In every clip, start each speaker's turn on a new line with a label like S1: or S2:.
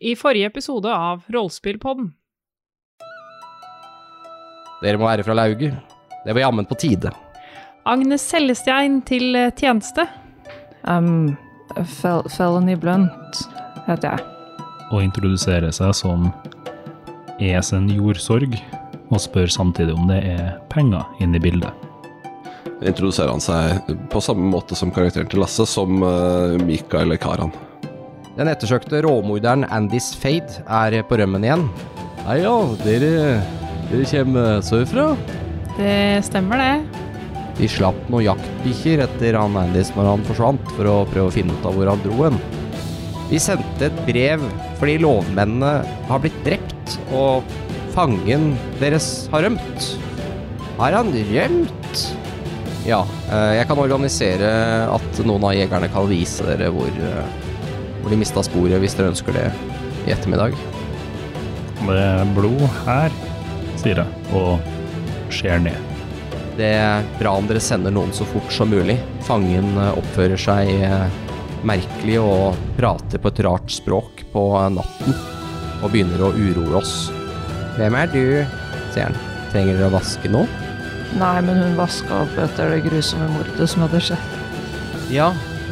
S1: I forrige episode av Rollspillpodden.
S2: Dere må være fra lauget. Det var jammen på tide.
S1: Agnes Sellestein til eh, tjeneste.
S3: Um, fel felony Blunt heter jeg.
S4: og introdusere seg som er sin jordsorg, og spør samtidig om det er penger inne i bildet.
S5: introduserer han seg på samme måte som karakteren til Lasse, som eh, Mikael Karan.
S2: Den ettersøkte råmorderen Andys Fade er på rømmen igjen. Hei ja, dere, dere kommer sørfra?
S1: Det stemmer, det.
S2: De slapp noen jaktbikkjer etter han Andys når han forsvant, for å prøve å finne ut av hvor han dro hen. Vi sendte et brev fordi lovmennene har blitt drept, og fangen deres har rømt. Har han rømt? Ja, eh, jeg kan organisere at noen av jegerne kan vise dere hvor, eh, hvor de mista sporet, hvis dere ønsker det i ettermiddag.
S4: Det er blod her, sier jeg, og ser ned.
S2: Det er bra om dere sender noen så fort som mulig. Fangen eh, oppfører seg eh, merkelig og prater på et rart språk på eh, natten og begynner å uroe oss. Hvem er du? sier han. Trenger dere å vaske nå?
S3: Nei, men hun vaska opp etter det grusomme mordet som hadde skjedd.
S2: Ja,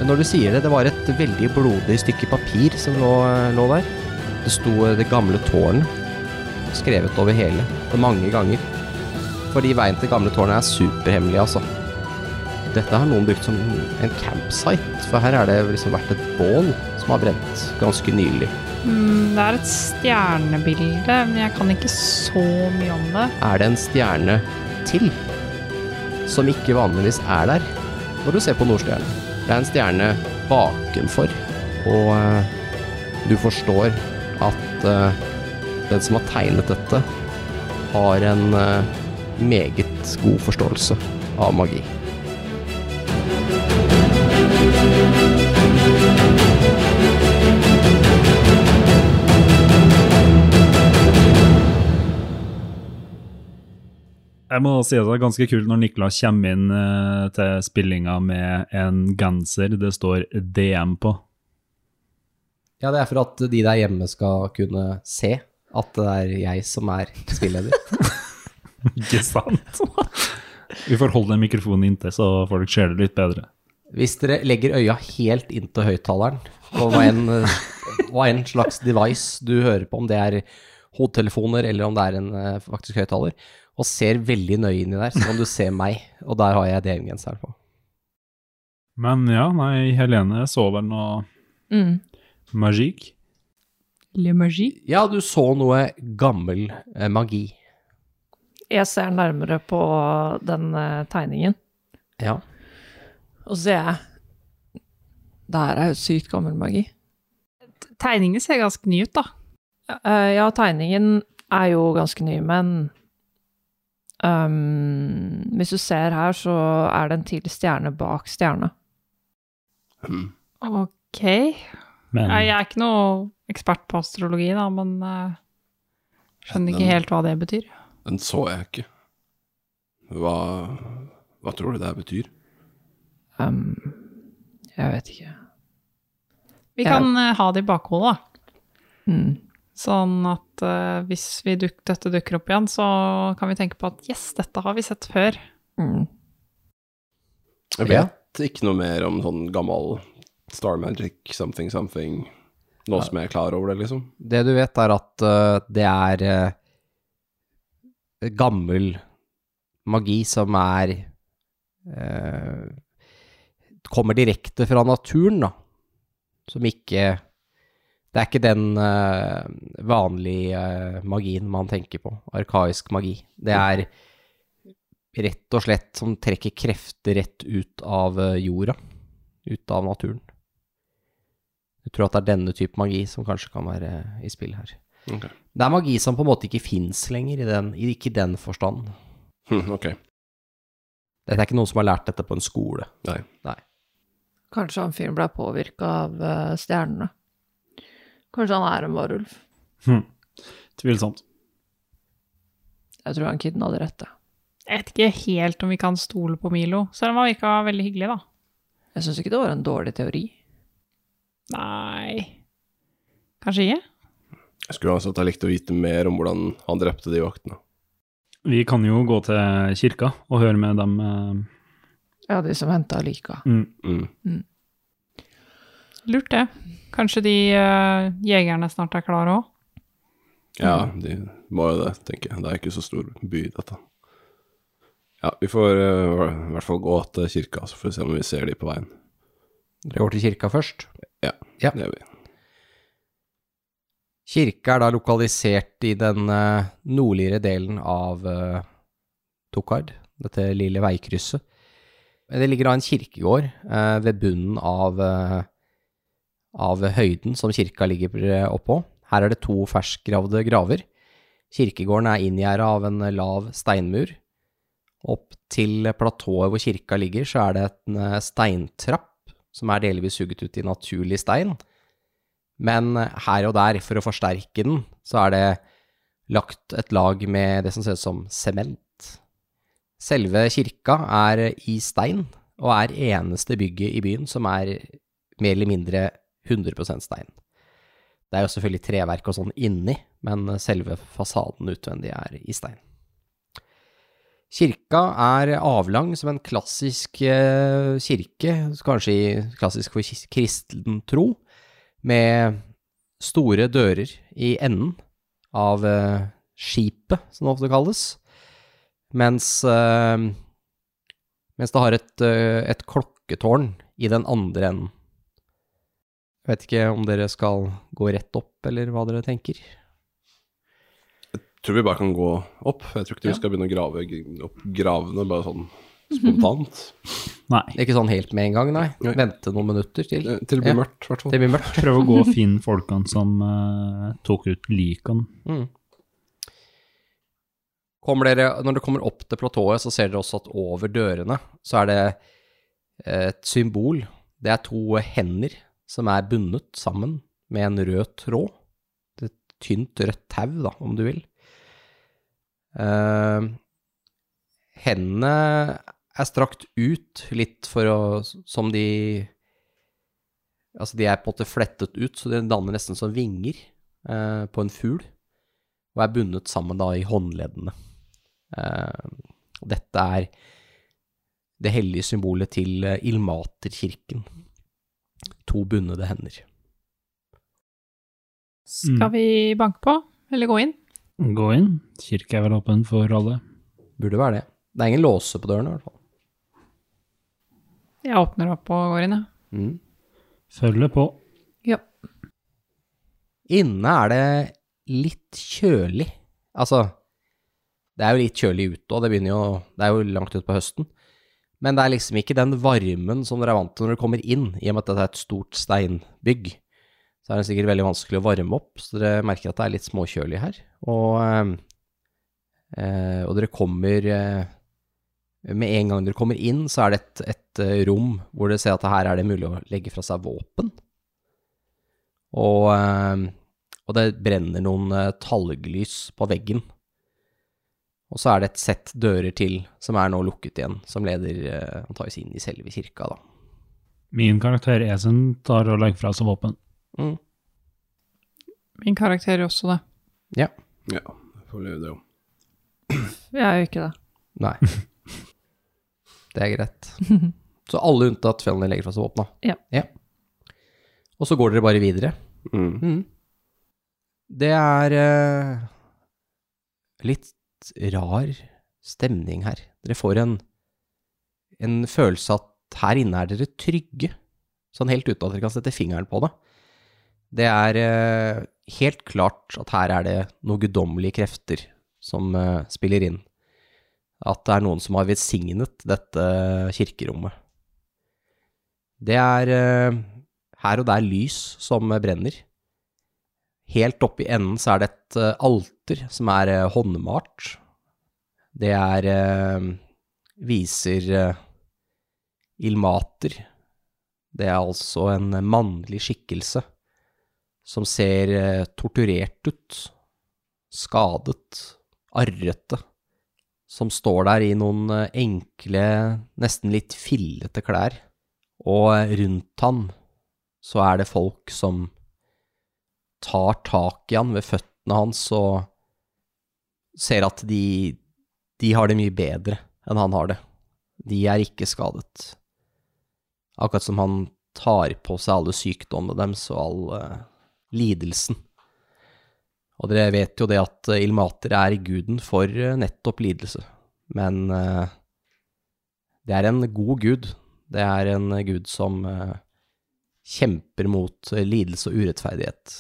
S2: når du sier det, det var et veldig blodig stykke papir som lå, eh, lå der. Det sto eh, det gamle tårnet, skrevet over hele, og mange ganger. Fordi veien til gamle tårnet er superhemmelig, altså. Dette har noen brukt som en campsite, for her har det liksom vært et bål som har brent ganske nylig.
S1: Mm, Det er et stjernebilde, men jeg kan ikke så mye om det.
S2: Er det en stjerne til som ikke vanligvis er der når du ser på Nordstjernen? Det er en stjerne bakenfor, og eh, du forstår at eh, den som har tegnet dette, har en eh, meget god forståelse av magi.
S4: Jeg må si at det er ganske kult når Niklas kommer inn eh, til spillinga med en genser det står DM på.
S2: Ja, det er for at de der hjemme skal kunne se at det er jeg som er spilleder.
S4: Ikke sant? Vi får holde den mikrofonen inntil, så folk ser det litt bedre.
S2: Hvis dere legger øya helt inntil høyttaleren, og hva enn hva enn slags device du hører på, om det er hodetelefoner eller om det er en eh, faktisk høyttaler, og ser veldig nøye inni der, så kan du se meg, og der har jeg DM-genseren på.
S4: Men ja, nei, Helene så vel noe
S3: Mm.
S4: magikk.
S1: Le magie.
S2: Ja, du så noe gammel eh, magi.
S3: Jeg ser nærmere på den eh, tegningen,
S2: Ja.
S3: og så ser jeg Det her er jo sykt gammel magi.
S1: Tegningene ser ganske nye ut, da.
S3: Eh, ja, tegningen er jo ganske ny, men um, hvis du ser her, så er det en til stjerne bak stjerne.
S5: Mm.
S1: Ok.
S4: Men
S1: Nei, Jeg er ikke noe ekspert på astrologi, da, men eh, skjønner ikke helt hva det betyr.
S5: Den så jeg ikke. Hva, hva tror du det her betyr?
S3: Um, jeg vet ikke.
S1: Vi
S3: Ja.
S1: kan eh, ha det i bakhodet, da.
S3: Mm.
S1: Sånn at eh, hvis vi duk dette dukker opp igjen, så kan vi tenke på at yes, dette har vi sett før.
S3: Mm.
S5: Jeg
S2: Ja.
S5: vet ikke noe mer om sånn gammel Star Magic something something. Nå som jeg er klar over det, liksom.
S2: Det du vet, er at eh, det er eh, gammel magi som er eh, Kommer direkte fra naturen, da. Som ikke Det er ikke den eh, vanlige eh, magien man tenker på. Arkaisk magi. Det er rett og slett som trekker krefter rett ut av eh, jorda. Ut av naturen. Jeg tror at det er denne type magi som kanskje kan være eh, i spill her.
S5: Ok.
S2: Det er magi som på en måte ikke fins lenger, i den, i- ikke i den forstand.
S5: Hm, ok.
S2: Dette er ikke noen som har lært dette på en skole.
S5: Nei.
S3: Kanskje han fyren ble påvirka av eh, stjernene. Kanskje han er en varulv.
S4: hm, tvilsomt.
S3: Jeg tror han kidden hadde rett. jeg.
S1: Jeg vet ikke helt om vi kan stole på Milo, selv om han virka veldig hyggelig, da.
S3: Jeg syns ikke det var en dårlig teori.
S1: Nei Kanskje ikke?
S5: Jeg skulle uansett ha likt å vite mer om hvordan han drepte de vaktene.
S4: Vi kan jo gå til kirka og høre med dem. eh,
S3: Ja, de som henta lika.
S4: Mm.
S5: Mm.
S1: Lurt, det. Kanskje de eh, jegerne snart er klare òg?
S5: Ja, de må jo det, tenker jeg. Det er ikke så stor by, dette. Ja, vi får eh, i hvert fall gå til kirka, så får vi se om vi ser de på veien.
S2: Dere går til kirka først. Ja.
S5: Det gjør vi.
S2: Kirka er da lokalisert i den eh, nordligere delen av eh, Tokard, dette lille veikrysset. Det ligger da en kirkegård eh, ved bunnen av, eh, av høyden som kirka ligger eh, oppå. Her er det to ferskgravde graver. Kirkegården er inngjerda av en eh, lav steinmur. Opp til platået hvor kirka ligger, så er det en eh, steintrapp som er delvis suget ut i naturlig stein. Men her og der, for å forsterke den, så er det lagt et lag med det som ser ut som sement. Selve kirka er i stein, og er eneste bygget i byen som er mer eller mindre 100 stein. Det er jo selvfølgelig treverk og sånn inni, men selve fasaden utvendig er i stein. Kirka er avlang som en klassisk eh, kirke, kanskje i- klassisk for kis- kristen tro med store dører i enden av eh, skipet, som det ofte kalles, mens, eh, mens det har et, eh, et klokketårn i den andre enden. Jeg vet ikke om dere skal gå rett opp, eller hva dere tenker.
S5: Tror vi bare kan gå opp. Jeg tror ikke vi skal begynne å grave g- opp gravene, bare sånn spontant.
S4: Nei.
S2: Ikke sånn helt med en gang, nei.
S5: Nei.
S2: Vente noen minutter til.
S5: Eh, Til det blir
S2: Ja.
S5: mørkt, i hvert fall.
S2: Det blir mørkt.
S4: Prøv å gå og finne folkene som eh, tok ut likene.
S2: Mm. Kommer dere, når dere kommer opp til platået, så ser dere også at over dørene så er det eh, et symbol. Det er to hender som er bundet sammen med en rød tråd. Det er Et tynt rødt tau, da, om du vil. Eh, hendene er strakt ut litt for å Som de Altså, de er på en måte flettet ut, så de danner nesten som vinger eh, på en fugl, og er bundet sammen da i håndleddene. Eh, og dette er det hellige symbolet til eh, Ilmaterkirken. To bundede hender.
S1: Skal
S4: Mm.
S1: vi banke på, eller gå inn?
S4: Gå inn. Kirke er vel åpen for alle.
S2: Burde være det. Det er ingen låse på dørene, i hvert fall.
S1: Jeg åpner opp og går inn, jeg.
S2: Mm.
S4: Følge på.
S3: Ja.
S2: Inne er det litt kjølig. Altså, det er jo litt kjølig ute, og det begynner jo Det er jo langt utpå høsten. Men det er liksom ikke den varmen som dere er vant til når dere kommer inn, i og med at dette er et stort steinbygg. Så er det sikkert veldig vanskelig å varme opp, så dere merker at det er litt småkjølig her. Og, eh, eh, og dere kommer eh, Med en gang dere kommer inn, så er det et, et eh, rom hvor dere ser at her er det mulig å legge fra seg våpen. Og, eh, og det brenner noen eh, talglys på veggen. Og så er det et sett dører til, som er nå lukket igjen, som leder eh, antageligvis inn i selve kirka, da.
S4: Min karakter Esen tar og legger fra seg våpen.
S2: Mm.
S1: Min karakter gjør også det.
S5: Ja, får vi det jo.
S3: Jeg er jo ikke det.
S2: Nei. Det er greit. Så alle unntatt Fellny legger fra seg våpna?
S3: Ja.
S2: Og så går dere bare videre?
S5: Mm.
S2: Det er eh, litt rar stemning her. Dere får en, en følelse at her inne er dere trygge, sånn helt uten at dere kan sette fingeren på det. Det er eh, helt klart at her er det noen guddommelige krefter som eh, spiller inn. At det er noen som har velsignet dette kirkerommet. Det er eh, her og der lys som brenner. Helt oppe i enden så er det et eh, alter som er eh, håndmalt. Det er eh, viser eh, ilmater. Det er altså en mannlig skikkelse som ser eh, torturert ut, skadet, arrete, som står der i noen eh, enkle, nesten litt fillete klær. eh, Og rundt han så er det folk som tar tak i han ved føttene hans og ser at de, de har det mye bedre enn han har det. De er ikke skadet. Akkurat som han tar på seg alle sykdommene deres og all eh, lidelsen. Og dere vet jo det at eh, Ilmater er guden for eh, nettopp lidelse, men eh, det er en god gud. Det er en eh, gud som eh, kjemper mot eh, lidelse og urettferdighet.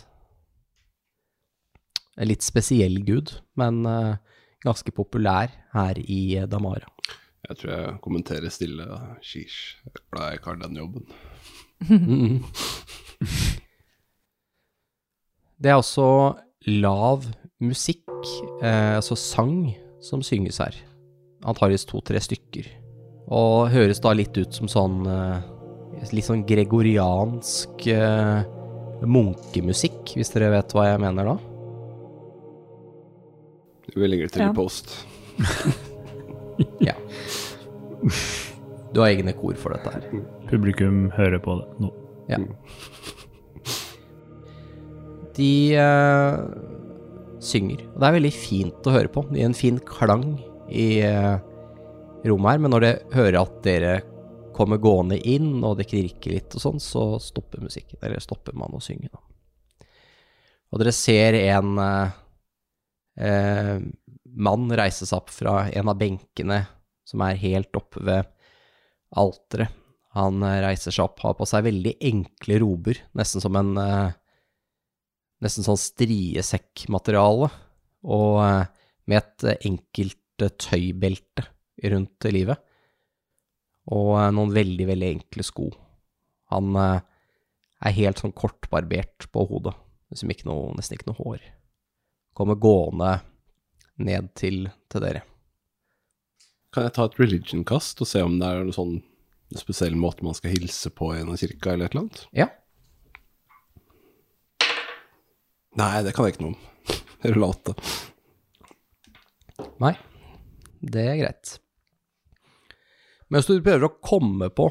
S2: En litt spesiell gud, men eh, ganske populær her i eh, Damara.
S5: Jeg tror jeg kommenterer stille. Sheesh, jeg er glad jeg ikke har den jobben.
S2: Mm. Det er også lav musikk, eh, altså sang, som synges her. Antakeligvis to-tre stykker. Og høres da litt ut som sånn eh, Litt sånn gregoriansk eh, munkemusikk, hvis dere vet hva jeg mener da.
S5: Vi legger det til
S3: Ja.
S5: i post.
S2: Du har egne kor for dette her.
S4: Publikum hører på det nå.
S2: De eh, synger. Og det er veldig fint å høre på. Det gir en fin klang i eh, rommet her, men når dere hører at dere kommer gående inn, og det knirker litt og sånn, så stopper musikken. Eller stopper man å synge, da. Og dere ser en eh, eh, mann reise seg opp fra en av benkene som er helt oppe ved alteret. Han eh, reiser seg opp, har på seg veldig enkle rober, nesten som en eh, nesten sånn striesekkmateriale, og eh, med et eh, enkelt eh, tøybelte rundt livet, og eh, noen veldig, veldig enkle sko. Han eh, er helt sånn kortbarbert på hodet, liksom ikke noe, nesten ikke noe hår. Kommer gående ned til, til dere.
S5: Kan jeg ta et religion-kast og se om det er noen sånn spesiell måte man skal hilse på gjennom kirka, eller et eller annet?
S2: Ja,
S5: Nei, det kan jeg ikke noe om. Jeg ruller åtte.
S2: Nei, det er greit. Mens du prøver å komme på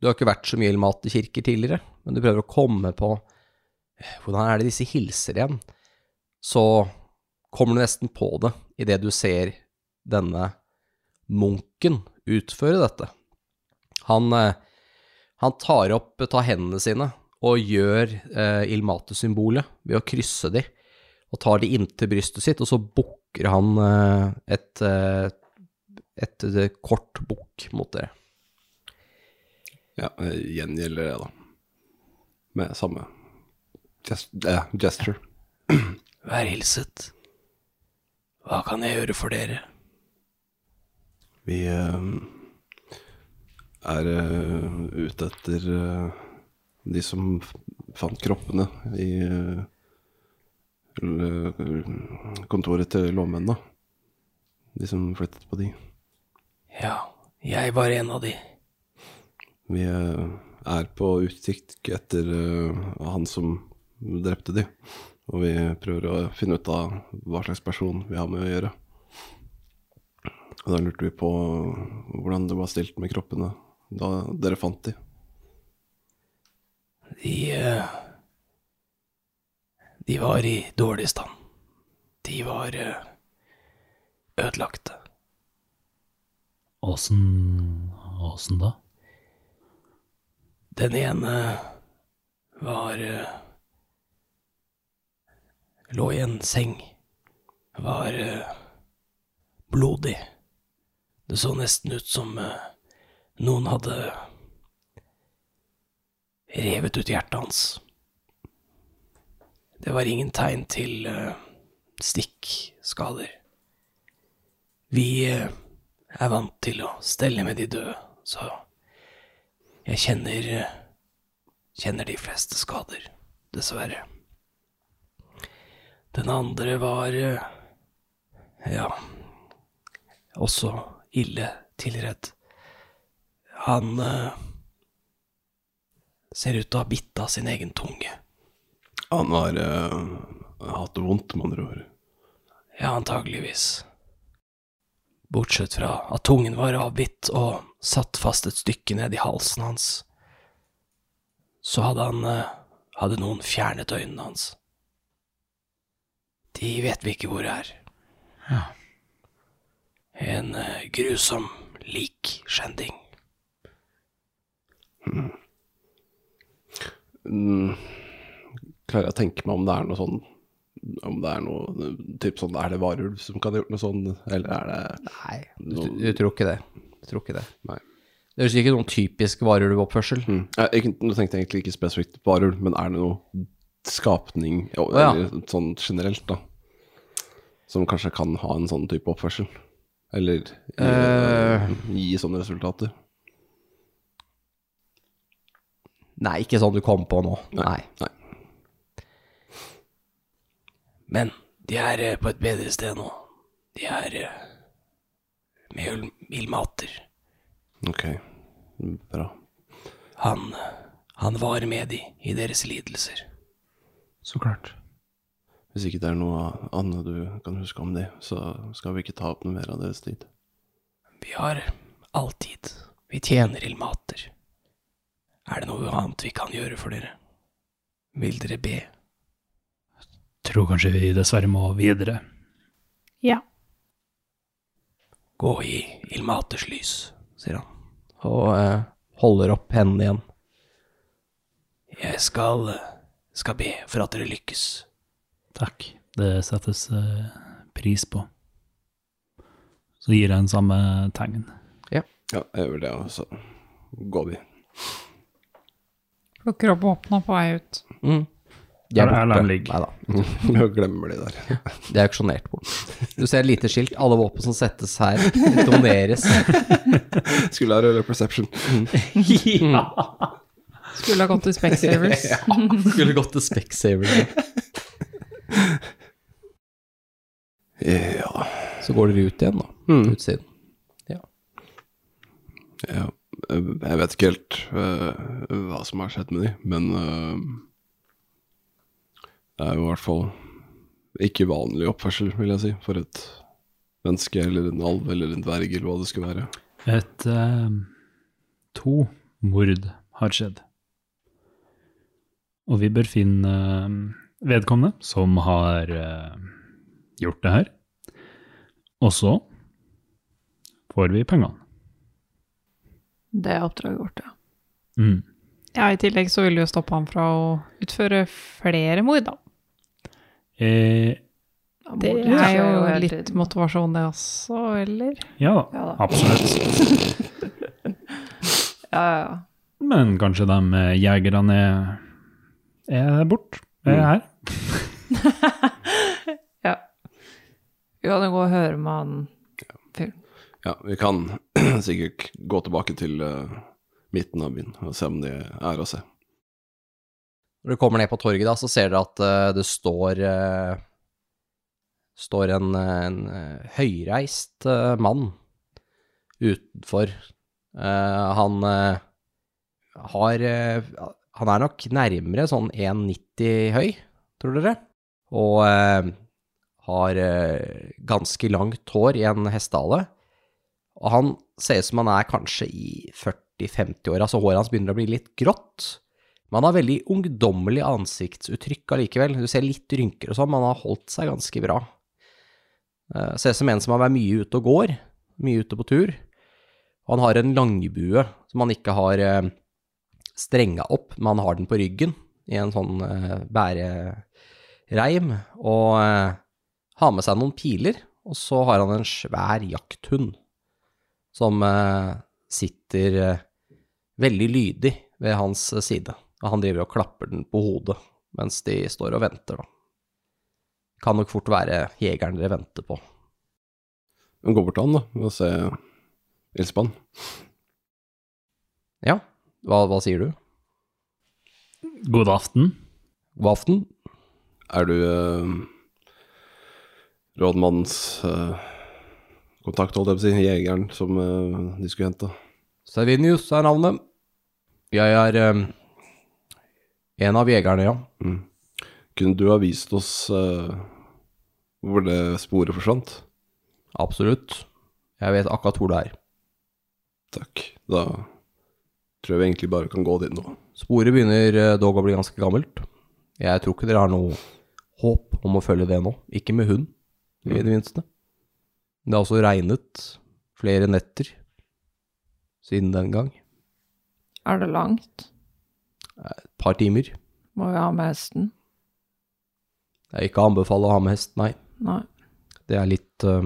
S2: Du har ikke vært så mye i Matekirker tidligere, men du prøver å komme på eh, Hvordan er det disse hilser igjen? Så kommer du nesten på det idet du ser denne munken utføre dette. Han, eh, han tar opp tar hendene sine og gjør eh, Ilmate-symbolet ved å krysse de, og tar de inntil brystet sitt, og så bukker han eh, et, eh, et, eh, kort bukk mot dere.
S5: Ja, jeg gjengjelder det, da. Med samme gest eh, gesture.
S2: Vær hilset. Hva kan jeg gjøre for dere?
S5: Vi eh, er eh, ute etter eh, de som f- fant kroppene i eh, l- eh, kontoret til lovmennene. De som flyttet på de.
S2: Ja, jeg var en av de.
S5: Vi eh, er på utkikk etter eh, han som drepte de. Og vi prøver å finne ut av hva slags person vi har med å gjøre. Og da lurte vi på hvordan det var stilt med kroppene da dere fant de.
S2: De eh, De var i dårlig stand. De var eh, ødelagte.
S4: Åssen Åssen da?
S2: Den ene var eh, Lå i en seng. Var eh, blodig. Det så nesten ut som eh, noen hadde revet ut hjertet hans. Det var ingen tegn til eh, stikkskader. Vi eh, er vant til å stelle med de døde, så jeg kjenner kjenner de fleste skader, dessverre. Den andre var eh, ja, også ille tilredd. Han eh, ser ut til å ha bitt av sin egen tunge.
S5: Han har eh, hatt det vondt, med andre ord.
S2: Ja, antageligvis. Bortsett fra at tungen var avbitt og satt fast et stykke ned i halsen hans, så hadde han eh, hadde noen fjernet øynene hans. De vet vi ikke hvor er. En eh, grusom likskjending.
S5: Mm. Klarer jeg å tenke meg om det er noe sånn Om det er noe typ sånn Er det varulv som kan ha gjort noe sånn, eller er det
S2: Nei, du,
S5: Noen-
S2: du tror ikke det. Du tror ikke det.
S5: Nei.
S2: Det høres ikke noen typisk varulvoppførsel.
S5: Mm. Jeg, ikke- nå tenkte jeg egentlig ikke spesifikt på varulv, men er det noe skapning ja,
S2: ja.
S5: eller sånn generelt, da? Som kanskje kan ha en sånn type oppførsel? Eller gi,
S2: Eh.
S5: gi sånne resultater?
S2: Nei, ikke sånn du kom på nå. Nei.
S5: Nei.
S2: Men de er eh, på et bedre sted nå. De er eh, med ull- ildmater.
S5: Ok, bra.
S2: Han, han var med de i deres lidelser.
S4: Så klart.
S5: Hvis ikke det er noe annet du kan huske om de, så skal vi ikke ta opp noe mer av deres tid.
S2: Vi har alltid Vi tjener ildmater. Er det noe annet vi kan gjøre for dere? Vil dere be?
S4: Tror kanskje vi dessverre må videre.
S1: Ja.
S2: Gå i ildmaters lys, sier han. Og eh, holder opp hendene igjen. Jeg skal, eh, skal be for at dere lykkes.
S4: Takk. Det settes eh, pris på. Så gir jeg den samme tegn.
S5: Ja, jeg gjør det, og så går vi.
S1: Plukker opp våpna på vei ut.
S2: Mm.
S4: Ja, det er der den ligger.
S2: Neida.
S5: Jeg glemmer de der.
S2: De er auksjonert bort. Du ser et lite skilt. Alle våpen som settes her, doneres.
S5: Skulle ha rød perception.
S1: Skulle ha gått til Specsavers.
S2: Skulle gått til Specsavers.
S5: Ja.
S2: Så går dere ut igjen, da.
S5: Mm.
S2: Utsiden.
S5: ja. Jeg vet ikke helt eh, hva som har skjedd med de, men eh, det er jo i hvert fall ikke vanlig oppførsel, vil jeg si, for et menneske eller en alv eller en dverg eller hva det skulle være.
S4: Et eh, To mord har skjedd. Og vi bør finne eh, vedkommende som har eh, gjort det her. Og så får vi pengene.
S3: Det er oppdraget vårt, ja.
S4: Mm.
S1: Ja, i tillegg så vil du jo stoppe ham fra å utføre flere mord, da.
S4: Eh,
S3: Ja,
S1: Det
S3: mord
S1: er
S3: skjer
S1: jo
S3: hele
S1: litt
S3: tiden.
S1: motivasjon, det også, eller?
S4: ja da,
S3: Ja da.
S4: absolutt.
S3: Ja, ja, ja.
S4: Men kanskje de eh, jegerne er, er borte. Er her.
S3: Vi kan jo gå og høre med han fyren.
S5: Ja, vi kan sikkert gå tilbake til eh, midten av byen og se om de er å se.
S2: Når du kommer ned på torget, da, så ser dere at eh, det står eh, står en, eh, en eh, høyreist eh, mann utenfor. Eh, han eh, har eh, Han er nok nærmere sånn 1,90 høy, tror dere. Og eh, har eh, ganske langt hår i en hestehale. Og han ser ut som han er kanskje i 40-50-åra, så altså håret hans begynner å bli litt grått. Men han har veldig ungdommelig ansiktsuttrykk allikevel. Du ser litt rynker og sånn, men han har holdt seg ganske bra. Eh, Ser ut som en som har vært mye ute og går, mye ute på tur. Og han har en langbue som han ikke har eh, strenga opp, men han har den på ryggen i en sånn eh, bærereim. Og eh, har med seg noen piler, og så har han en svær jakthund som eh, sitter eh, veldig lydig ved hans side, og han driver og klapper den på hodet mens de står og venter, da. Kan nok fort være jegeren dere venter på.
S5: Gå bort til han, da, og se ildspann.
S2: Ja, hva, hva sier du?
S4: God aften.
S2: God aften?
S5: Er du eh, rådmannens eh, kontakt, holdt jeg på å si, jegeren som eh, de skulle hente?
S2: Servinius er navnet. Jeg er eh, en av jegerne, ja.
S5: Mm. Kunne du ha vist oss eh, hvor det sporet forsvant?
S2: Absolutt. Jeg vet akkurat hvor det er.
S5: Takk. Da tror jeg vi egentlig bare kan gå dit nå.
S2: Sporet begynner eh, dog å bli ganske gammelt. Jeg tror ikke dere har noe håp om å følge det nå. Ikke med hund, i det minste. Det har også regnet flere netter siden den gang.
S3: Er det langt?
S2: Et par timer.
S3: Må vi ha med hesten?
S2: Det er ikke å anbefale å ha med hest, nei.
S3: Nei.
S2: Det er litt eh,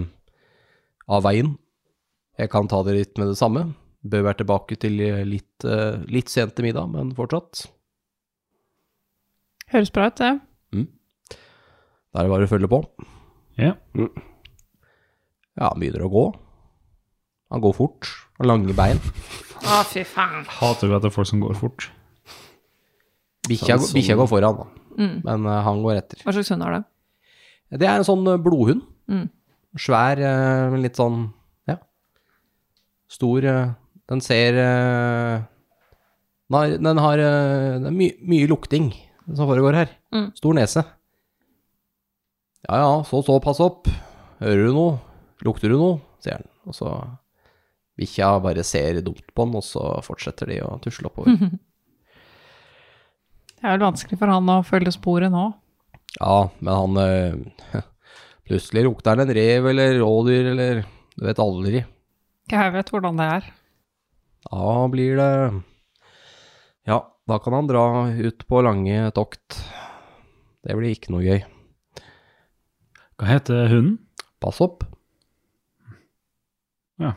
S2: av veien. Jeg kan ta det litt med det samme. Bør være tilbake til eh, litt, eh, litt sent til middag, men fortsatt.
S1: Høres bra ut, det.
S2: Da er det bare å følge på.
S4: Ja.
S5: Mm.
S2: Ja, han begynner å gå. Han går fort. Har lange bein.
S1: Å, fy faen.
S4: Hater jo at det er folk som går fort.
S2: Bikkja
S5: Sånn som-
S2: bikkja går foran, da.
S3: Mm.
S2: men eh, han går etter.
S3: Hva slags hund er det?
S2: Det er en sånn eh, blodhund.
S3: Mm.
S2: Svær, eh, men litt sånn Ja. Stor. eh, Den ser eh, Den har, den har eh, det er my, mye lukting som foregår her.
S3: Mm.
S2: Stor nese. Ja ja, så så, pass opp. Hører du noe? Lukter du noe? sier han. Og så Bikkja bare ser dumt på han, og så fortsetter de å tusle oppover.
S1: Det er vel vanskelig for han å følge sporet nå.
S2: Ja, men han eh, Plutselig lukter han en rev eller rådyr eller Du vet aldri.
S1: Jeg vet hvordan det er.
S2: Da blir det Ja, da kan han dra ut på lange tokt. Det blir ikke noe gøy.
S4: Hva heter hunden?
S2: Pass opp.
S4: Ja.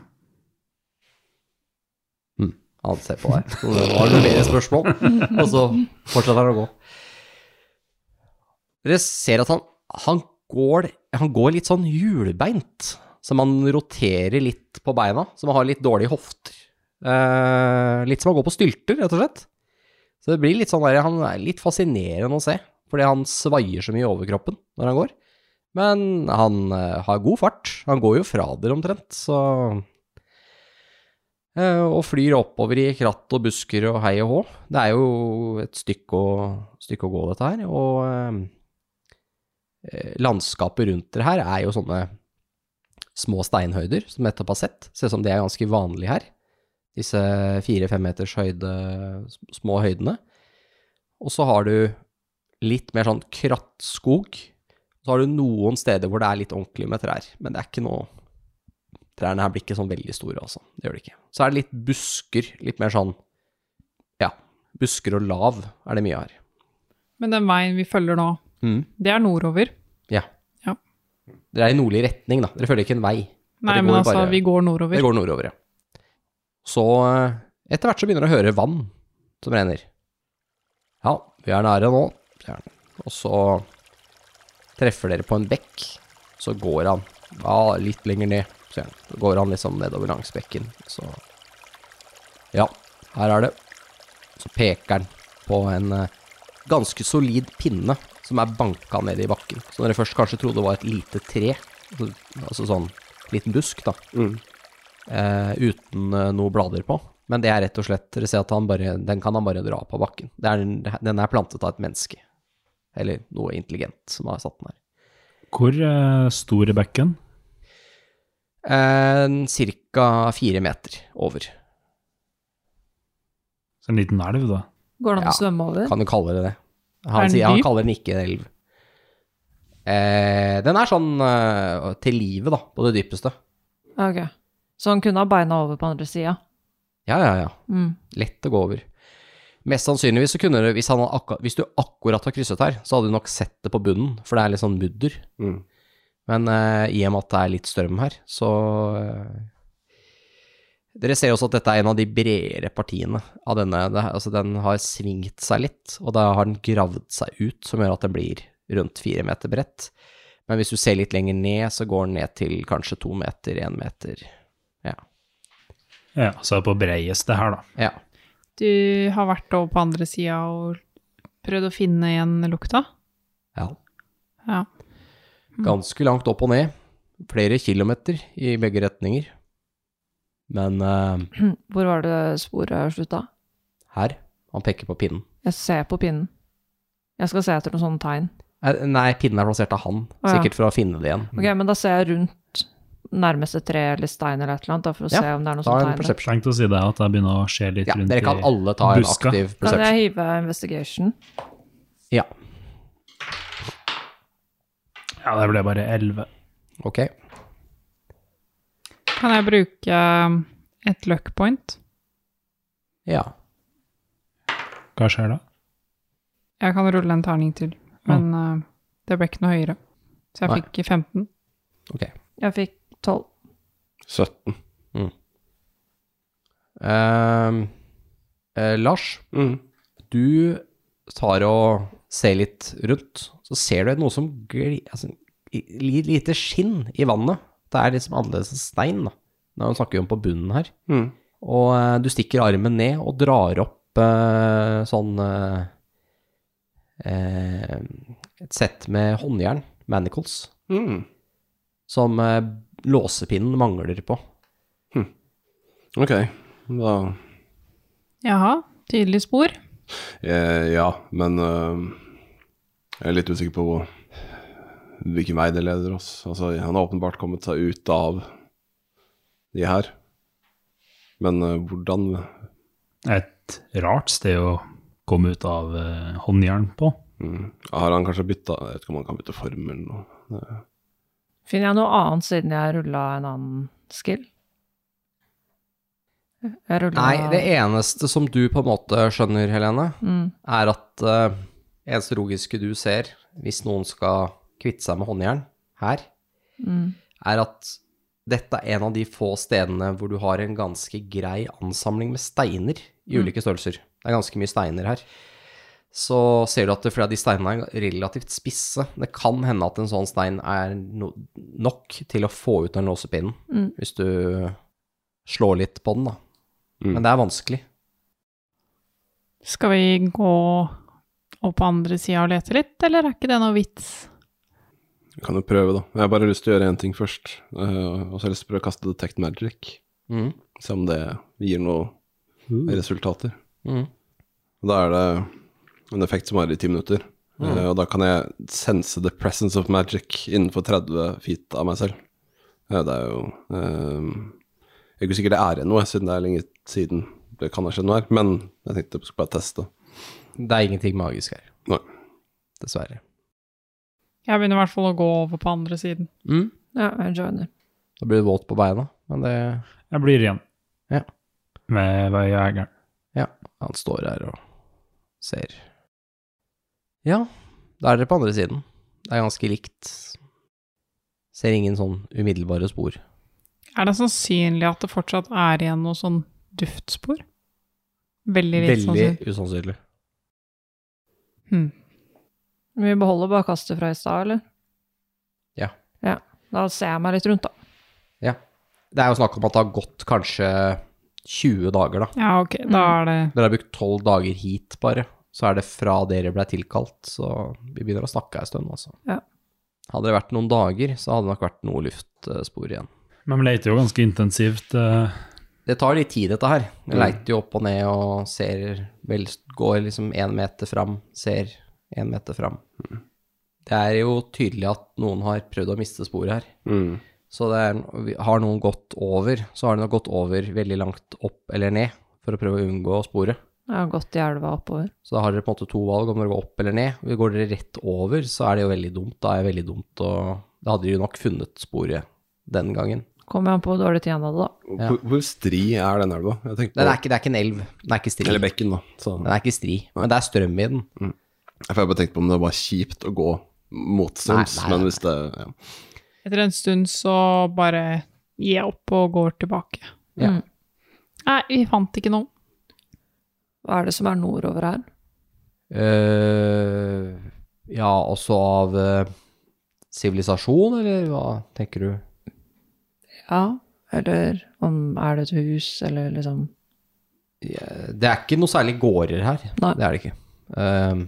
S2: Mm, han ser på deg. Så det var noe mer spørsmål, og så fortsetter han å gå. Dere ser at han, han, går, han går litt sånn hjulbeint, som han roterer litt på beina, som han har litt dårlige hofter. Eh, litt som han går på stylter, rett og slett. Så det blir litt sånn der, han er litt fascinerende å se, fordi han svaier så mye i overkroppen når han går. Men han eh, har god fart. Han går jo fra dere omtrent, så Eh, Og flyr oppover i kratt og busker og hei og hå. Det er jo et stykke å, stykke å gå, dette her. Og eh, eh, landskapet rundt dere her er jo sånne små steinhøyder som jeg nettopp har sett. Ser ut som det er ganske vanlig her. Disse fire-fem meters høyde, s- små høydene. Og så har du litt mer sånn krattskog. Så har du noen steder hvor det er litt ordentlig med trær, men det er ikke noe Trærne her blir ikke sånn veldig store, altså. Det gjør det ikke. Så er det litt busker, litt mer sånn Ja, busker og lav er det mye her.
S1: Men den veien vi følger nå,
S2: Mm.
S1: det er nordover.
S2: Ja.
S1: Ja.
S2: Dere er i nordlig retning, da. Dere følger ikke en vei.
S1: Nei,
S2: det
S1: men
S2: går
S1: altså,
S2: bare-
S1: vi går nordover.
S2: Det går nordover, ja. Så eh, etter hvert så begynner du å høre vann som renner. Ja, vi er nære nå, sier han. Og så treffer dere på en bekk. Så går han ja, litt lenger ned, sier han. Så går han liksom nedover langs bekken. Så Ja, her er det. Så peker han på en eh, ganske solid pinne som er banka ned i bakken. Som dere først kanskje trodde var et lite tre. Altså, altså sånn liten busk, da
S5: Mm.
S2: eh, uten eh, noe blader på. Men det er rett og slett Dere ser at han bare, den kan han bare dra på bakken. Det er, den- den er plantet av et menneske. Eller noe intelligent som har satt den her.
S4: Hvor eh, stor er bekken?
S2: Eh, Cirka fire meter over.
S4: Så en liten elv, da.
S3: Går det an å
S2: Ja,
S3: svømme over?
S2: Kan du kalle det det?
S1: Er
S2: Han,
S1: den
S2: sier, han
S1: dyp?
S2: kaller den ikke en elv. Eh, den er sånn eh, til livet, da, på det dypeste.
S3: Ja, Ok. Så han kunne ha beina over på andre sida?
S2: Ja, ja, ja.
S3: Mm.
S2: Lett å gå over. Mest sannsynligvis så kunne du, hvis, han hadde akkurat, hvis du akkurat har krysset her, så hadde du nok sett det på bunnen, for det er litt sånn mudder.
S5: Mm.
S2: Men eh, i og med at det er litt strøm her, så eh, Dere ser også at dette er en av de bredere partiene av denne. Det, altså den har svingt seg litt, og da har den gravd seg ut, som gjør at den blir rundt fire meter bredt. Men hvis du ser litt lenger ned, så går den ned til kanskje to meter, én meter.
S4: Ja, så er det på breieste her, da.
S2: Ja.
S1: Du har vært over på andre sida og prøvd å finne igjen lukta?
S2: ja.
S1: Ja.
S3: Mm.
S2: Ganske langt opp og ned. Flere kilometer i begge retninger. Men eh,
S3: Hvor var det sporet slutta?
S2: her Han peker på pinnen.
S3: Jeg ser på pinnen. Jeg skal se etter noen sånne tegn.
S2: Eh, Nei, pinnen er plassert av han.
S3: Å, ja.
S2: Sikkert for å finne det igjen.
S3: Ok, men da ser jeg rundt nærmeste tre eller stein eller et eller annet, da, for å
S2: Ja,
S3: se om det er noen
S2: Ta
S3: sånne
S2: en
S3: tegn. der.
S2: perception.
S4: Tenkte å si det, at jeg begynner å se litt
S2: Ja,
S4: rundt
S2: dere kan alle ta en
S4: buska.
S2: aktiv
S3: Kan
S2: perception.
S3: jeg hive investigation?
S2: Ja.
S4: Ja, det ble bare elleve.
S2: Ok.
S1: Kan jeg bruke um, et luck point?
S2: Ja.
S4: Hva skjer da?
S1: Jeg kan rulle en terning til, men eh, det ble ikke noe høyere. Så jeg
S2: Nei.
S1: fikk 15.
S2: Ok.
S3: Jeg fikk tolv.
S5: 17.
S2: Ehm, eh, Lars,
S5: Mm.
S2: du tar og ser litt rundt, så ser du noe som glir, altså, li- lite skinn i vannet. Det er liksom annerledes enn stein, da. Nå snakker vi om på bunnen her.
S5: Mm.
S2: Og eh, du stikker armen ned og drar opp eh, sånn eh, eh, Et sett med håndjern, manacles,
S5: Mm.
S2: som eh, låsepinnen mangler på.
S5: Ok, da
S1: Jaha, tydelig spor.
S5: Eh, ja, men eh, jeg er litt usikker på hvor, hvilken vei det leder oss. Altså, han har åpenbart kommet seg ut av de her. Men eh, hvordan
S4: Et rart sted å komme ut av eh, håndjern på.
S5: mm, Har han kanskje bytta Jeg vet ikke om han kan bytte form eller noe. Det-
S3: Finner jeg noe annet siden jeg rulla en annen skill? Jeg rulla
S2: Nei, det eneste som du på en måte skjønner, Helene,
S3: mm.
S2: er at uh, eneste logiske du ser, hvis noen skal kvitte seg med håndjern her,
S3: Mm.
S2: er at dette er en av de få stedene hvor du har en ganske grei ansamling med steiner
S3: Mm.
S2: i ulike størrelser. Det er ganske mye steiner her. Så ser du at det- flere av de steinene er relativt spisse. Det kan hende at en sånn stein er no nok til å få ut den låsepinnen,
S3: Mm.
S2: hvis du slår litt på den, da.
S5: Mm.
S2: Men det er vanskelig.
S1: Skal vi gå opp på andre sida og lete litt, eller er ikke det noe vits?
S5: Vi kan jo prøve, da. Jeg har bare lyst til å gjøre én ting først. eh, og så har jeg lyst til å prøve å kaste Detect Magic.
S2: Mm.
S5: Se om det gir noen resultater.
S2: Mm.
S5: Og Da er det en effekt som varer i ti minutter.
S2: Mm.
S5: Eh, og da kan jeg sense the presence of magic innenfor 30 feet av meg selv. Eh, det er jo eh, Jeg er ikke sikker det er ennå, siden det er lenge siden det kan ha skjedd noe her. Men jeg tenkte jeg skulle bare teste.
S2: Det er ingenting magisk her.
S5: Nei.
S2: Dessverre.
S1: Jeg begynner i hvert fall å gå over på andre siden.
S2: Mm.
S3: Ja, jeg joiner.
S2: Da blir du våt på beina, men det
S4: Jeg blir igjen.
S2: Ja.
S4: Med hva jeg er gæren.
S2: Han står her og ser. Ja, da er dere på andre siden. Det er ganske likt. Ser ingen sånn umiddelbare spor.
S1: Er det sannsynlig at det fortsatt er igjen noe sånn duftspor? Veldig litt
S2: Veldig
S1: sannsynlig.
S2: usannsynlig.
S1: Hmm.
S3: Vi beholder bare kastet fra i stad, eller?
S2: Ja.
S3: ja. Da ser jeg meg litt rundt, da.
S2: Det er jo snakk om at det har gått kanskje 20 dager, da.
S1: Ja, ok, da er det
S2: Dere har brukt 12 dager hit, bare. Så er det fra dere ble tilkalt, så vi begynner å snakke ei stund, altså.
S3: Ja.
S2: Hadde det vært noen dager, så hadde det nok vært noe luftspor igjen.
S4: Men vi leter jo ganske intensivt. eh,
S2: Det tar litt tid, dette her. Jeg
S5: Mm.
S2: leiter jo opp og ned og ser vel, Går liksom én meter fram, ser én meter fram.
S5: Mm.
S2: Det er jo tydelig at noen har prøvd å miste sporet her.
S5: Mm.
S2: Så det er, har noen gått over, så har de nok gått over veldig langt opp eller ned for å prøve å unngå sporet.
S3: Jeg har gått i elva oppover.
S2: Så da har dere på en måte to valg, om dere går opp eller ned. Og Går dere rett over, så er det jo veldig dumt. Da er det veldig dumt å Da hadde de jo nok funnet sporet den gangen.
S3: Kommer jeg på hvor dårlig tid han hadde, da.
S5: Hvor, hvor stri er den elva? Jeg tenkte
S2: Det er ikke, det er ikke en elv. Den er ikke stri.
S5: Eller bekken, da. Så
S2: Den er ikke stri, men det er strøm i den.
S5: jeg får bare tenkt på om det var kjipt å gå motstrøms,
S2: Nei, nei,
S5: men
S2: nei.
S5: hvis det ja.
S1: Etter en stund så bare gir jeg opp og går tilbake.
S2: Ja.
S3: Mm.
S1: Nei, vi fant ikke noe.
S3: Hva er det som er nordover her?
S2: eh ja, også av eh, sivilisasjon, eller hva tenker du?
S3: Ja. Eller om er det et hus, eller liksom
S2: Ja, Eh, Det er ikke noe særlig gårder her.
S3: Nei.
S2: Det er det ikke. Ehm,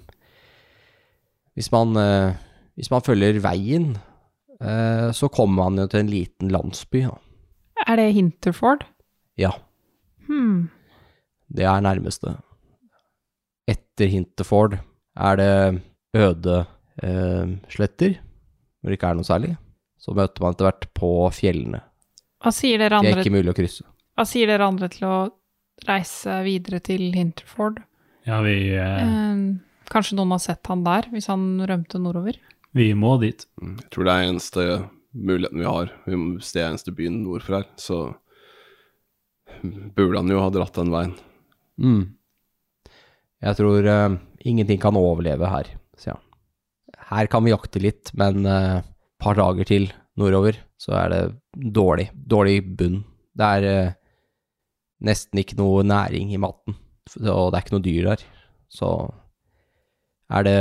S2: hvis, man, eh, hvis man følger veien, eh, så kommer man jo til en liten landsby. Da.
S1: Er det Hinterford?
S2: Ja,
S1: Hmm.
S2: det er nærmeste. Etter Hinterford er det øde eh, sletter, hvor det ikke er noe særlig. Så møter man etter hvert på fjellene.
S1: Hva sier dere
S2: De er
S1: andre,
S2: ikke mulig å krysse.
S1: hva sier dere andre til å reise videre til Hinterford?
S4: ja, vi eh,
S1: Ehm, Eh, kanskje noen har sett han der, hvis han rømte nordover?
S6: Vi må dit.
S5: Mm, Jeg tror det er eneste muligheten vi har. Vi må- Det er eneste byen nordfor her, så burde han jo ha dratt den veien.
S2: Mm. Jeg tror eh, ingenting kan overleve her, sier han. Her kan vi jakte litt, men et par dager til nordover, så er det dårlig. Dårlig bunn. Det er eh, nesten ikke noe næring i maten, f- og det er ikke noe dyr der. Så er det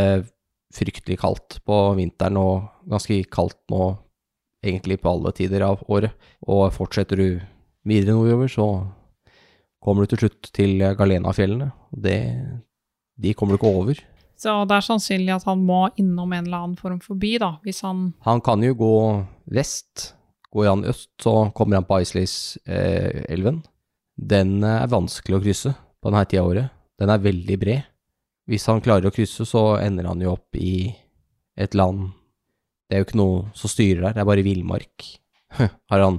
S2: fryktelig kaldt på vinteren, og ganske kaldt nå egentlig på alle tider av året. Og fortsetter du videre nordover, så kommer du til slutt til Galenafjellene. og Det, de kommer du ikke over.
S1: Så det er sannsynlig at han må innom en eller annen form for by, da, hvis han
S2: Han kan jo gå vest. Går han øst, så kommer han på Isleys-elven. Eh, elven. den eh, er vanskelig å krysse på denne tida av året. Den er veldig bred. Hvis han klarer å krysse, så ender han jo opp i et land Det er jo ikke noe som styrer der, det er bare villmark. Har han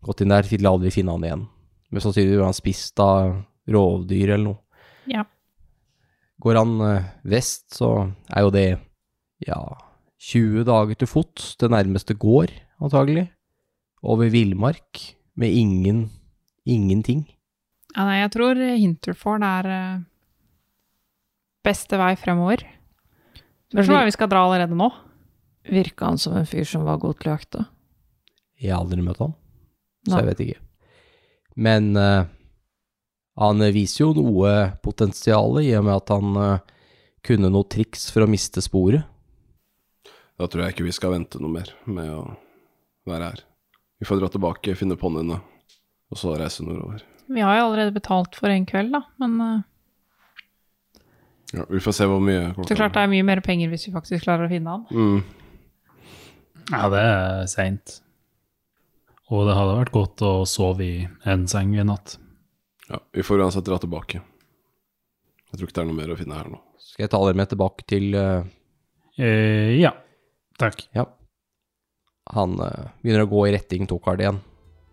S2: gått inn der, vil aldri finne han igjen. Men sannsynligvis blir han spist av rovdyr eller noe.
S1: Ja.
S2: Går han eh, vest, så er jo det ja, 20 dager til fots til nærmeste gård, antagelig. Over villmark, med ingen, ingenting.
S1: ja, Nei, jeg tror Hinterford er eh, beste vei fremover.
S3: Men
S1: Spørs hvor vi skal dra allerede nå.
S3: virka han som en fyr som var god til å jakte?
S2: Jeg har aldri møtt han, så
S3: Nei.
S2: jeg vet ikke. Men eh, han viser jo noe potensial i og med at han eh, kunne noe triks for å miste sporet.
S5: Da tror jeg ikke vi skal vente noe mer med å være her. Vi får dra tilbake, finne ponniene, og så reise nordover.
S1: Vi har jo allerede betalt for en kveld, da, men eh,
S5: Ja, vi får se hvor mye klokka
S1: det er klart det er mye mer penger hvis vi faktisk klarer å finne han.
S5: Mm.
S6: Ja, det er seint. Og det hadde vært godt å sove i en seng i natt.
S5: Ja, vi får uansett dra tilbake. Jeg tror ikke det er noe mer å finne her nå.
S2: Skal jeg ta dere med tilbake til eh,
S6: Eh, ja. Takk.
S2: Ja. Han eh, begynner å gå i retting Tokard igjen.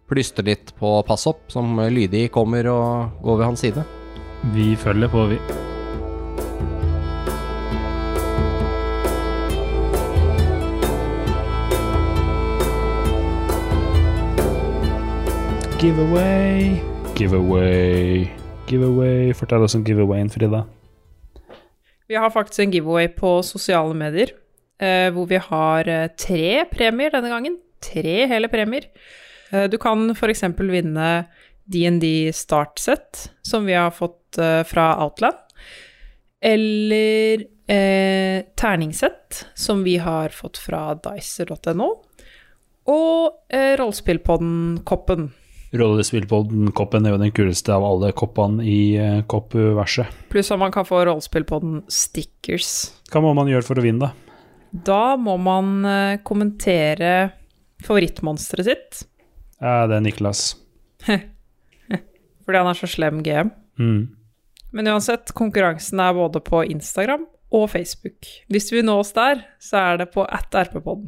S2: Plystrer litt på passopp, som lydig kommer og går ved hans side.
S6: Vi følger på, vi.
S4: Giveaway. Giveaway. Giveaway. Fortell oss om giveawayen, Frida.
S7: Vi har faktisk en giveaway på sosiale medier, eh, hvor vi har eh, tre premier denne gangen. Tre hele premier. Eh, du kan f.eks. vinne DND startsett, som vi har fått eh, fra Outland. Eller eh, terningsett, som vi har fått fra dicer.no. Og eh, rollespillpodden-koppen.
S4: Rollespillpodden-koppen er jo den kuleste av alle koppene i eh, koppverset.
S7: Pluss at man kan få rollespillpodden-stickers.
S4: Hva må man gjøre for å vinne, da?
S7: Da må man eh, kommentere favorittmonsteret sitt,
S4: Eh, det er Niklas.
S7: fordi han er så slem GM.
S4: Mm.
S7: Men uansett, konkurransen er både på Instagram og Facebook. Hvis du vil nå oss der, så er det på atrpodden.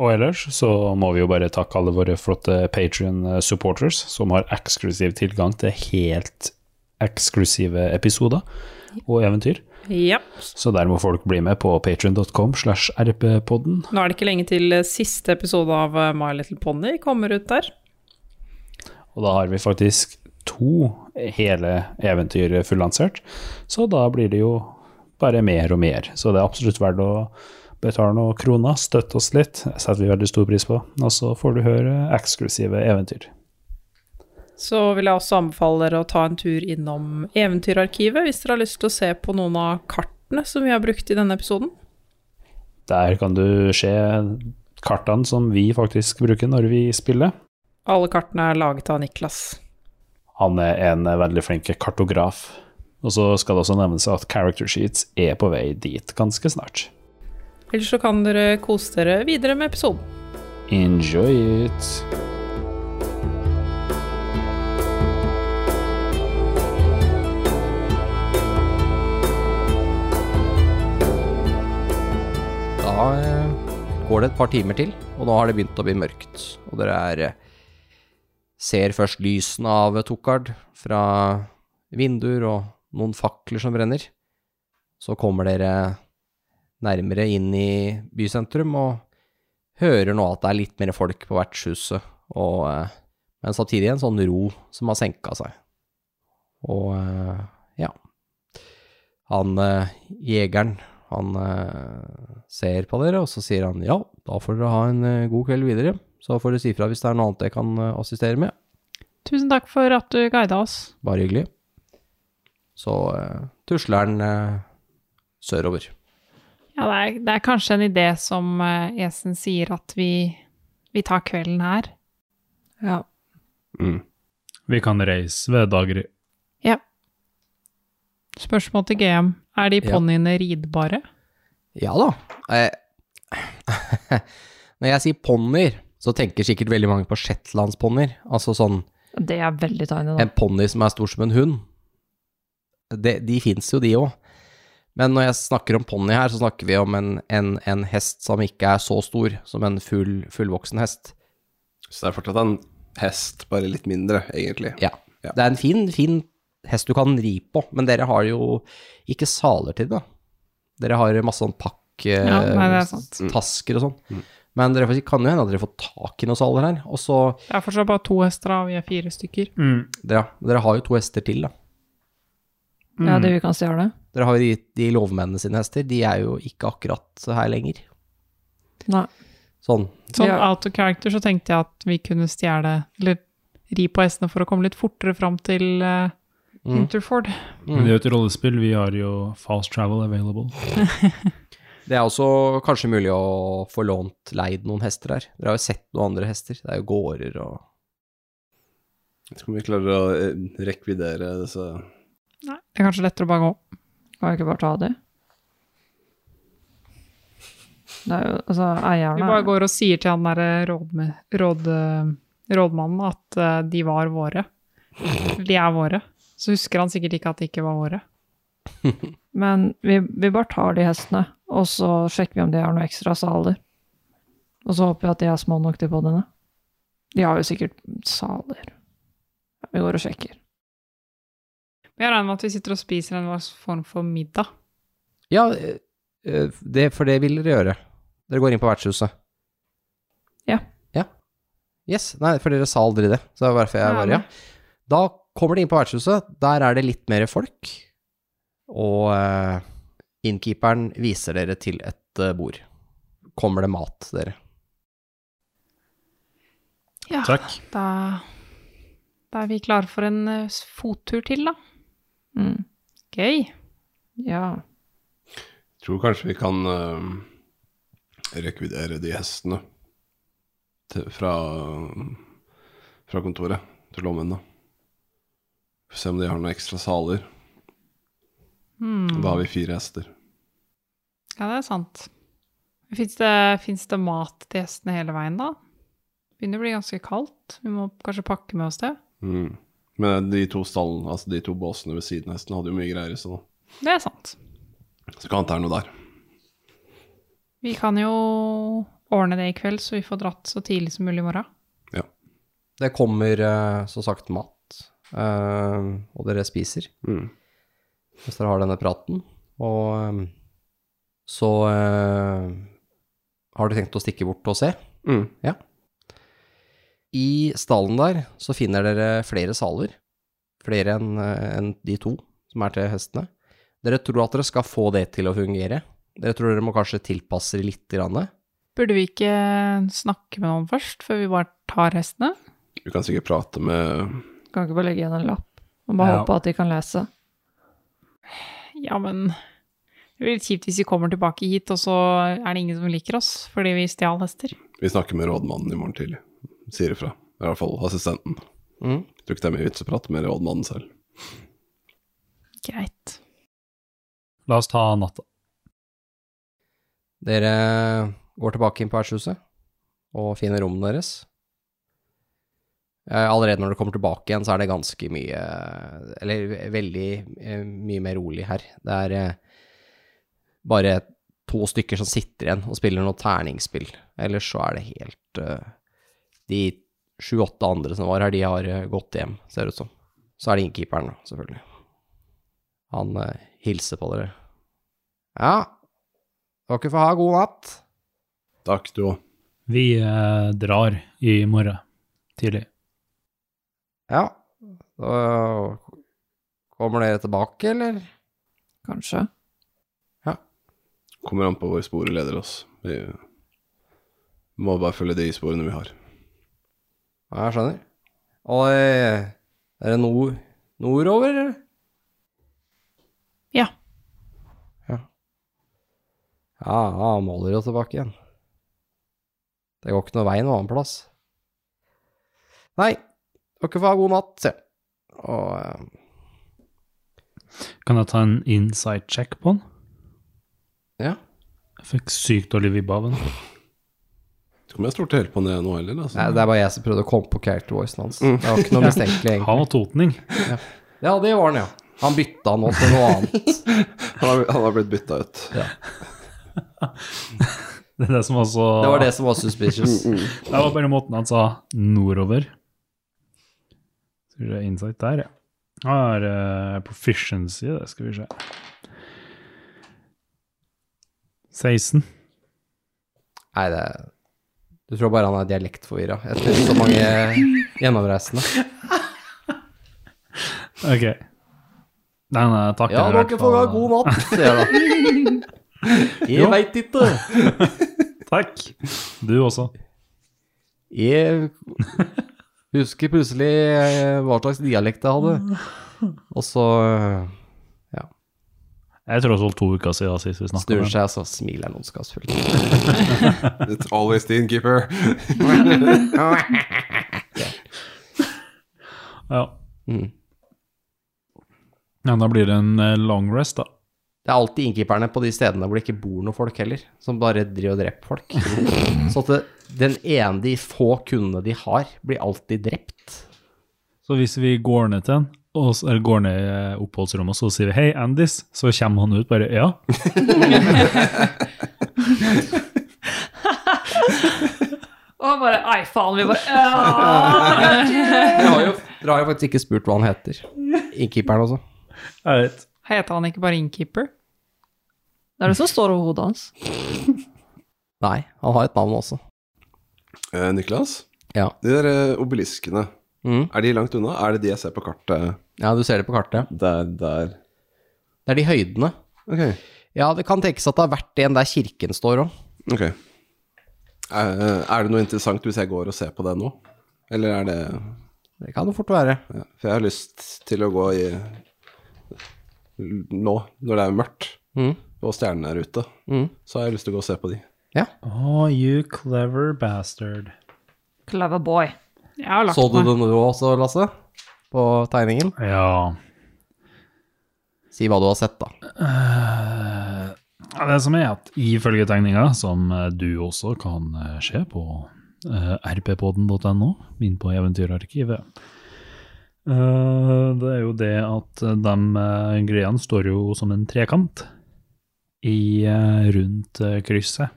S4: Og ellers så må vi jo bare takke alle våre flotte Patrion-supporters, som har eksklusiv tilgang til helt eksklusive episoder og eventyr.
S7: Ja.
S4: Så der må folk bli med på patrion.com slash rppodden.
S7: Nå er det ikke lenge til eh, siste episode av eh, My Little Pony kommer ut der.
S4: Og da har vi faktisk to hele eventyr fullansert, så da blir det jo bare mer og mer. Så det er absolutt verdt å betale noen kroner, støtte oss litt, det setter vi veldig stor pris på. Og så får du høre eksklusive eventyr.
S7: Så vil jeg også anbefale dere å ta en tur innom Eventyrarkivet hvis dere har lyst til å se på noen av kartene som vi har brukt i denne episoden.
S4: Der kan du se kartene som vi faktisk bruker når vi spiller.
S7: Alle kartene er laget av Niklas.
S4: Han er en veldig flink kartograf. Og så skal det også nevnes at character sheets er på vei dit ganske snart.
S7: Ellers så kan dere kose dere videre med episoden.
S4: Enjoy it!
S2: Da eh, går det et par timer til, og nå har det begynt å bli mørkt. Og dere er, eh, ser først lysene av Tokard fra vinduer og noen fakler som brenner. Så kommer dere nærmere inn i bysentrum, og hører nå at det er litt mer folk på vertshuset, og, eh, men samtidig en sånn ro som har senka seg. Og eh, ja, han eh, jegeren, han eh, ser på dere, og så sier han ja, da får dere ha en eh, god kveld videre, så får dere si fra hvis det er noe annet jeg kan eh, assistere med.
S1: Tusen takk for at du guida oss.
S2: Bare hyggelig. Så eh, tusler han eh, sørover.
S1: Ja, det er, det er kanskje en idé som eh, Esen sier, at vi, vi tar kvelden her.
S3: Ja.
S5: Mm.
S4: Vi kan reise ved daggry.
S1: Spørsmål til GM. Er de
S2: Ja.
S1: ponniene ridbare?
S2: Ja da. Eh, Når jeg sier ponnier, så tenker sikkert veldig mange på shetlandsponnier. Altså sånn
S3: Det er veldig tiny, da.
S2: en ponni som er stor som en hund. De, de fins jo, de òg. Men når jeg snakker om ponni her, så snakker vi om en, en, en hest som ikke er så stor som en full, fullvoksen hest.
S5: Så det er fortsatt en hest, bare litt mindre, egentlig.
S2: Ja.
S5: Ja.
S2: Det er en fin, fin hest du kan ri på, men dere har jo ikke saler til det. da. Dere har masse sånn
S1: Ja, nei, det er
S2: pakketasker
S1: sant.
S2: og sånn. Men dere får- kan jo hende at dere får tak i noen saler her. Og så
S1: Det er fortsatt bare to hester, da, og vi er fire stykker.
S2: dere, dere har jo to hester til, da.
S3: Ja,
S2: Mm.
S3: det vi kan stjele?
S2: Dere har jo de, de lovmennene sine hester. De er jo ikke akkurat her lenger.
S3: Nei.
S2: Sånn.
S1: Sånn
S3: Ja.
S1: out of character så tenkte jeg at vi kunne stjele, eller ri på hestene for å komme litt fortere fram til eh,
S2: Mm.
S1: Winterford.
S4: Men det er jo et rollespill, vi har jo fast travel available.
S2: Det er også kanskje mulig å få lånt leid noen hester her. Dere har jo sett noen andre hester. Det er jo gårder og
S5: Jeg tror vi klarer å eh, rekvidere disse
S1: Nei, det er kanskje lettere å bare gå.
S3: Kan vi ikke bare ta de? Det er jo Altså,
S1: Vi
S3: eierne
S1: bare går og sier til han derre rådme- råd, rådmannen at eh, de var våre. Eller De er våre. Så husker han sikkert ikke at de ikke var våre.
S3: Men vi, vi bare tar de hestene, og så sjekker vi om de har noe ekstra saler. Og så håper vi at de er små nok til podiene. De har jo sikkert saler. Ja, Vi går og sjekker.
S1: Men Jeg regner med at vi sitter og spiser en slags form for middag.
S2: Ja, eh, eh, det, for det vil dere gjøre. Dere går inn på vertshuset.
S3: Ja.
S2: Ja. Yes, nei, for dere sa aldri det. Så det var derfor jeg
S1: Nei,
S2: bare, ja. Da kommer dere inn på vertshuset. Der er det litt mer folk. Og eh, innkeeperen viser dere til et eh, bord. Kommer det mat til dere?
S1: Ja,
S4: Takk.
S1: Da, da er vi klare for en eh, s- fottur til, da.
S3: Mm.
S1: Gøy.
S3: Ja.
S5: Jeg tror kanskje vi kan eh, rekvidere de hestene til, fra, fra kontoret til lommene. Får se om de har noen ekstra saler.
S1: Hmm.
S5: Da har vi fire hester.
S1: Ja, det er sant. Fins det, finnes det mat til gjestene hele veien, da? Begynner å bli ganske kaldt. Vi må kanskje pakke med oss det.
S5: Mm. Men de to stallene, altså de to båsene ved siden av hesten, hadde jo mye greier i seg nå.
S1: Det er sant.
S5: Så kan det være noe der.
S1: Vi kan jo ordne det i kveld, så vi får dratt så tidlig som mulig i morgen.
S2: Det kommer eh, som sagt mat, eh, og dere spiser.
S5: Mm.
S2: Hvis dere har denne praten. Og eh, så eh, har dere tenkt å stikke bort og se.
S5: Mm.
S2: I stallen der så finner dere flere saler. Flere enn eh, enn de to som er til hestene. Dere tror at dere skal få det til å fungere. Dere tror dere må kanskje tilpasse det litt. Grann.
S1: Burde vi ikke snakke med noen først, før vi bare tar hestene?
S5: Vi kan sikkert prate med
S3: Kan ikke bare legge igjen en lapp. Og
S4: Ja.
S3: bare håpe at de kan lese.
S1: Ja, men det blir litt kjipt hvis vi kommer tilbake hit, og så er det ingen som liker oss fordi vi stjal hester.
S5: Vi snakker med rådmannen i morgen tidlig, sier ifra. I hvert fall assistenten.
S2: Mm.
S5: Tror ikke det er mye vits å prate med rådmannen selv.
S1: Greit.
S4: La oss ta natta.
S2: Dere går tilbake inn på vertshuset og finner rommene deres. Eh, Allerede når dere kommer tilbake igjen, så er det ganske mye Eller ve- veldig eh, mye mer rolig her. Det er eh, bare to stykker som sitter igjen og spiller noe terningspill. Ellers så er det helt eh, De sju-åtte andre som var her, de har eh, gått hjem, ser det ut som. Så er det innkeeperen, da, selvfølgelig. Han eh, hilser på dere. Ja, Dere får ha god natt.
S5: Takk, du òg.
S4: Vi eh, drar i morgen tidlig.
S2: Ja. Da kommer dere tilbake, eller?
S3: kanskje.
S5: Kommer an på hvor sporet leder oss. Vi må bare følge de sporene vi har.
S2: Ja, jeg skjønner. Og eh, er det nord, nordover, eller?
S1: Ja.
S2: Ja. Ja, da må dere jo tilbake igjen. Det går ikke noe vei noen annen plass. Nei, dere får ha god natt, se. Og eh,
S4: Kan jeg ta en inside check på den?
S2: Ja.
S4: Jeg fikk sykt dårlig vibbe av den.
S5: Det kommer jeg stort til å hjelpe på det nå heller, altså.
S2: nei, det er bare jeg som prøvde å komme på character voicen hans.
S5: Mm.
S2: Det var ikke noe mistenkelig, egentlig.
S4: Han var totning.
S2: Ja, det var han, ja. Han bytta nå til noe annet.
S5: Han har- Han har blitt bytta ut.
S4: Det er det som var så
S2: Det var det som var suspicious.
S4: Det var bare måten han sa nordover. Skal vi se insight der, ja. Her er eh, proficiency, det skal vi se. 16.
S2: Nei, det Du tror bare han er dialektforvirra etter så mange gjennomreisende.
S4: Ok. Nei, nei, takk.
S2: Ja, dere får ha god natt, sier jeg da. Jeg
S4: Jo.
S2: veit ikke.
S4: Takk. Du også.
S2: Jeg husker plutselig eh, hva slags dialekt jeg hadde. Og så eh,
S4: Jeg tror det var to uker siden sist vi snakket
S2: snur
S4: om
S2: han
S4: det.
S2: seg, så smiler han ondskapsfullt.
S5: It's always the innkeeper.
S4: Ja.
S2: Mm.
S4: ja, da blir det en eh, long rest, da.
S2: Det er alltid innkeeperne på de stedene hvor det ikke bor noen folk heller, som bare driver og dreper folk. Så at det, den ene de få kundene de har, blir alltid drept.
S4: Så hvis vi går ned til en, og så, eller går ned i eh, oppholdsrommet, og så sier vi 'hei, Andis', så kommer han ut bare 'ja'.
S3: Og bare Ei, faen, vi bare
S2: Dere har jo, dere har jo faktisk ikke spurt hva han heter. Innkeeperen også.
S4: Jeg vet.
S1: Heter han ikke bare innkeeper?
S3: Det er det som står over hodet hans.
S2: Nei, han har et navn også.
S5: Eh, Niklas,
S2: Ja.
S5: de der eh, obeliskene,
S2: Mm.
S5: er de langt unna? Er det de jeg ser på kartet
S2: Ja, du ser det på kartet.
S5: der, der?
S2: Det er de høydene.
S5: Ok.
S2: Ja, det kan tenkes at det har vært en der kirken står òg.
S5: ok. Er, er det noe interessant hvis jeg går og ser på det nå? Eller er det
S2: Det kan det fort være.
S5: ja, For jeg har lyst til å gå i Nå, når det er mørkt
S2: Mm.
S5: og stjernene er ute,
S2: Mm.
S5: så har jeg lyst til å gå og se på de.
S4: Oh, you clever bastard.
S3: Clever boy.
S1: Jeg har lagt
S2: Så du
S1: meg.
S2: det nå også, Lasse? På tegningen?
S4: Ja.
S2: Si hva du har sett, da.
S4: Eh, det som er at ifølge tegninga, som eh, du også kan eh, se på eh, rppodden.no, inn på Eventyrarkivet eh, Det er jo det at de eh, greiene står jo som en trekant i, eh, rundt eh, krysset.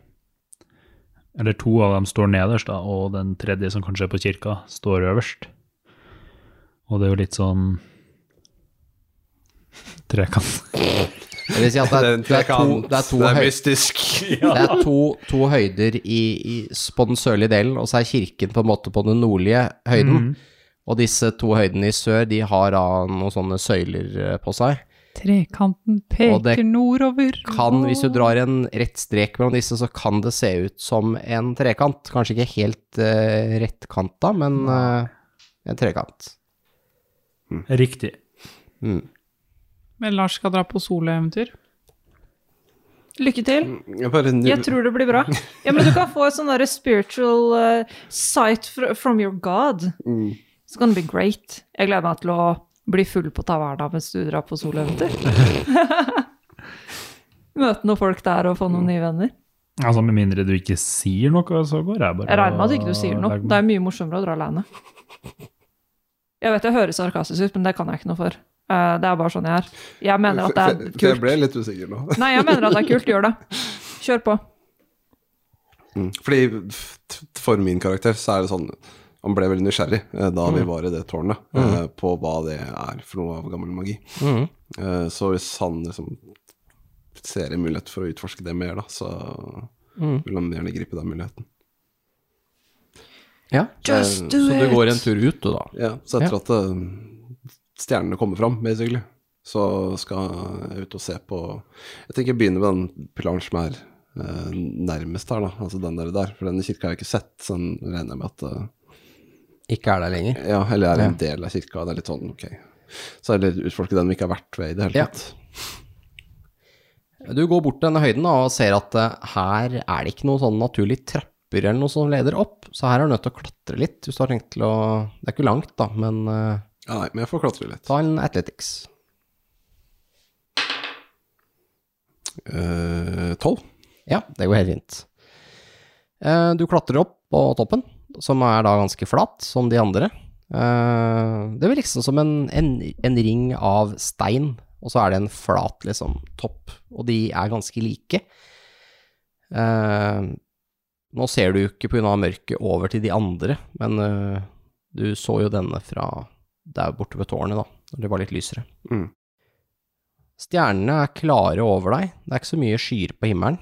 S4: Eller to av dem står nederst, da, og den tredje som kanskje er på kirka, står øverst. Og det er jo litt sånn Trekant.
S2: Det vil si at det er, det er to, det er to,
S5: det er
S2: høy,
S5: mystisk.
S2: det er to, to høyder i, i, på den sørlige delen, og så er kirken på en måte på den nordlige høyden. Og disse to høydene i sør, de har da noen sånne søyler eh, på seg.
S1: Trekanten
S2: Og det
S1: peker nordover.
S2: Kan, hvis du drar en rett strek mellom disse, så kan det se ut som en trekant. Kanskje ikke helt eh, rettkanta, men eh, en trekant.
S4: Riktig.
S2: Mm.
S1: Men Lars skal dra på soloeventyr.
S3: Lykke til.
S5: Jeg bare
S3: Jeg tror det blir bra. Ja, men du kan få et sånn derre spiritual eh, sight fr from your god.
S5: Mm.
S3: It's gonna be great. Jeg gleder meg til å bli full på taverna mens du drar på soloeventyr. Møte noen folk der og få noen nye venner.
S4: Altså, Med mindre du ikke sier noe, så går jeg bare
S3: Jeg regner med at ikke du
S4: og
S3: sier noe.
S4: legger
S3: Det
S4: meg.
S3: er mye morsommere å dra alene. Jeg vet jeg høres sarkastisk ut, men det kan jeg ikke noe for. Eh, det er bare sånn jeg er. Jeg mener at det
S5: For-
S3: er
S5: for- for Jeg
S3: kult.
S5: ble litt usikker nå.
S3: Nei, jeg mener at det er kult. Gjør det. Kjør på.
S5: Mm. Fordi f- t- for min karakter så er det sånn Han ble veldig nysgjerrig eh, da
S2: Mm.
S5: vi var i det tårnet, eh, på hva det er for noe av gammel magi.
S2: Mm.
S5: Eh, Så hvis han liksom ser en mulighet for å utforske det mer, da, så
S2: Mm.
S5: vil han gjerne gripe den muligheten.
S2: Ja.
S5: Just
S2: så du går en tur ut, du, da.
S5: Ja, så etter at eh, stjernene kommer fram, basically, så skal jeg ut og se på Jeg tenker jeg begynner med den pilaren som er eh, nærmest her, da. Altså den der, der. For denne kirka har jeg ikke sett, så den regner jeg med at eh,
S2: Ikke er der lenger.
S5: Ja, eller er en del av kirka. Det er litt sånn, ok. Så er det litt utforske den vi ikke har vært ved i det hele
S2: Ja.
S5: tatt.
S2: Du går bort til denne høyden da, og ser at eh, her er det ikke noen sånn naturlige trapper eller noe som leder opp, så her er du nødt til å klatre litt hvis du har tenkt til å Det er ikke langt, da, men eh,
S5: Ja, nei, men jeg får klatre litt.
S2: ta en athletics.
S5: Eh, Tolv?
S2: Ja, det går helt fint. Eh, Du klatrer opp på toppen, som er da ganske flat, som de andre. Eh, Det blir liksom som en, en, en ring av stein, og så er det en flat liksom, topp, og de er ganske like. Eh, Nå ser du jo ikke pga. mørket over til de andre, men eh, du så jo denne fra der borte ved tårnet, da, når det var litt lysere.
S5: Mm.
S2: Stjernene er klare over deg, det er ikke så mye skyer på himmelen.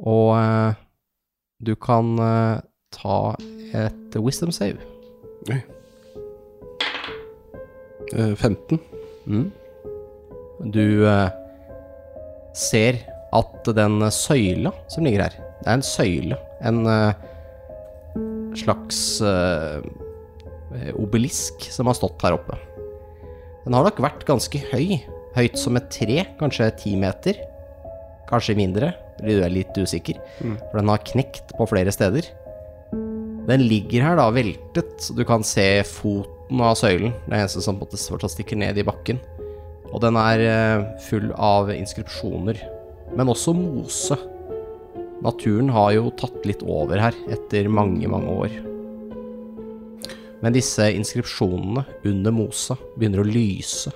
S2: Og eh, du kan eh, ta et wisdom save.
S5: Oi. Eh, 15?
S2: Du eh, ser at den søyla som ligger her, det er en søyle, en eh, slags eh, obelisk som har stått her oppe. Den har nok vært ganske høy, høyt som et tre, kanskje ti meter, kanskje mindre, fordi du er litt usikker, for den har knekt på flere steder. Den ligger her da, veltet, så du kan se foten av søylen, det er eneste som på en måte fortsatt stikker ned i bakken. Og den er eh, full av inskripsjoner, men også mose. Naturen har jo tatt litt over her etter mange, mange år. Men disse inskripsjonene under mosa begynner å lyse.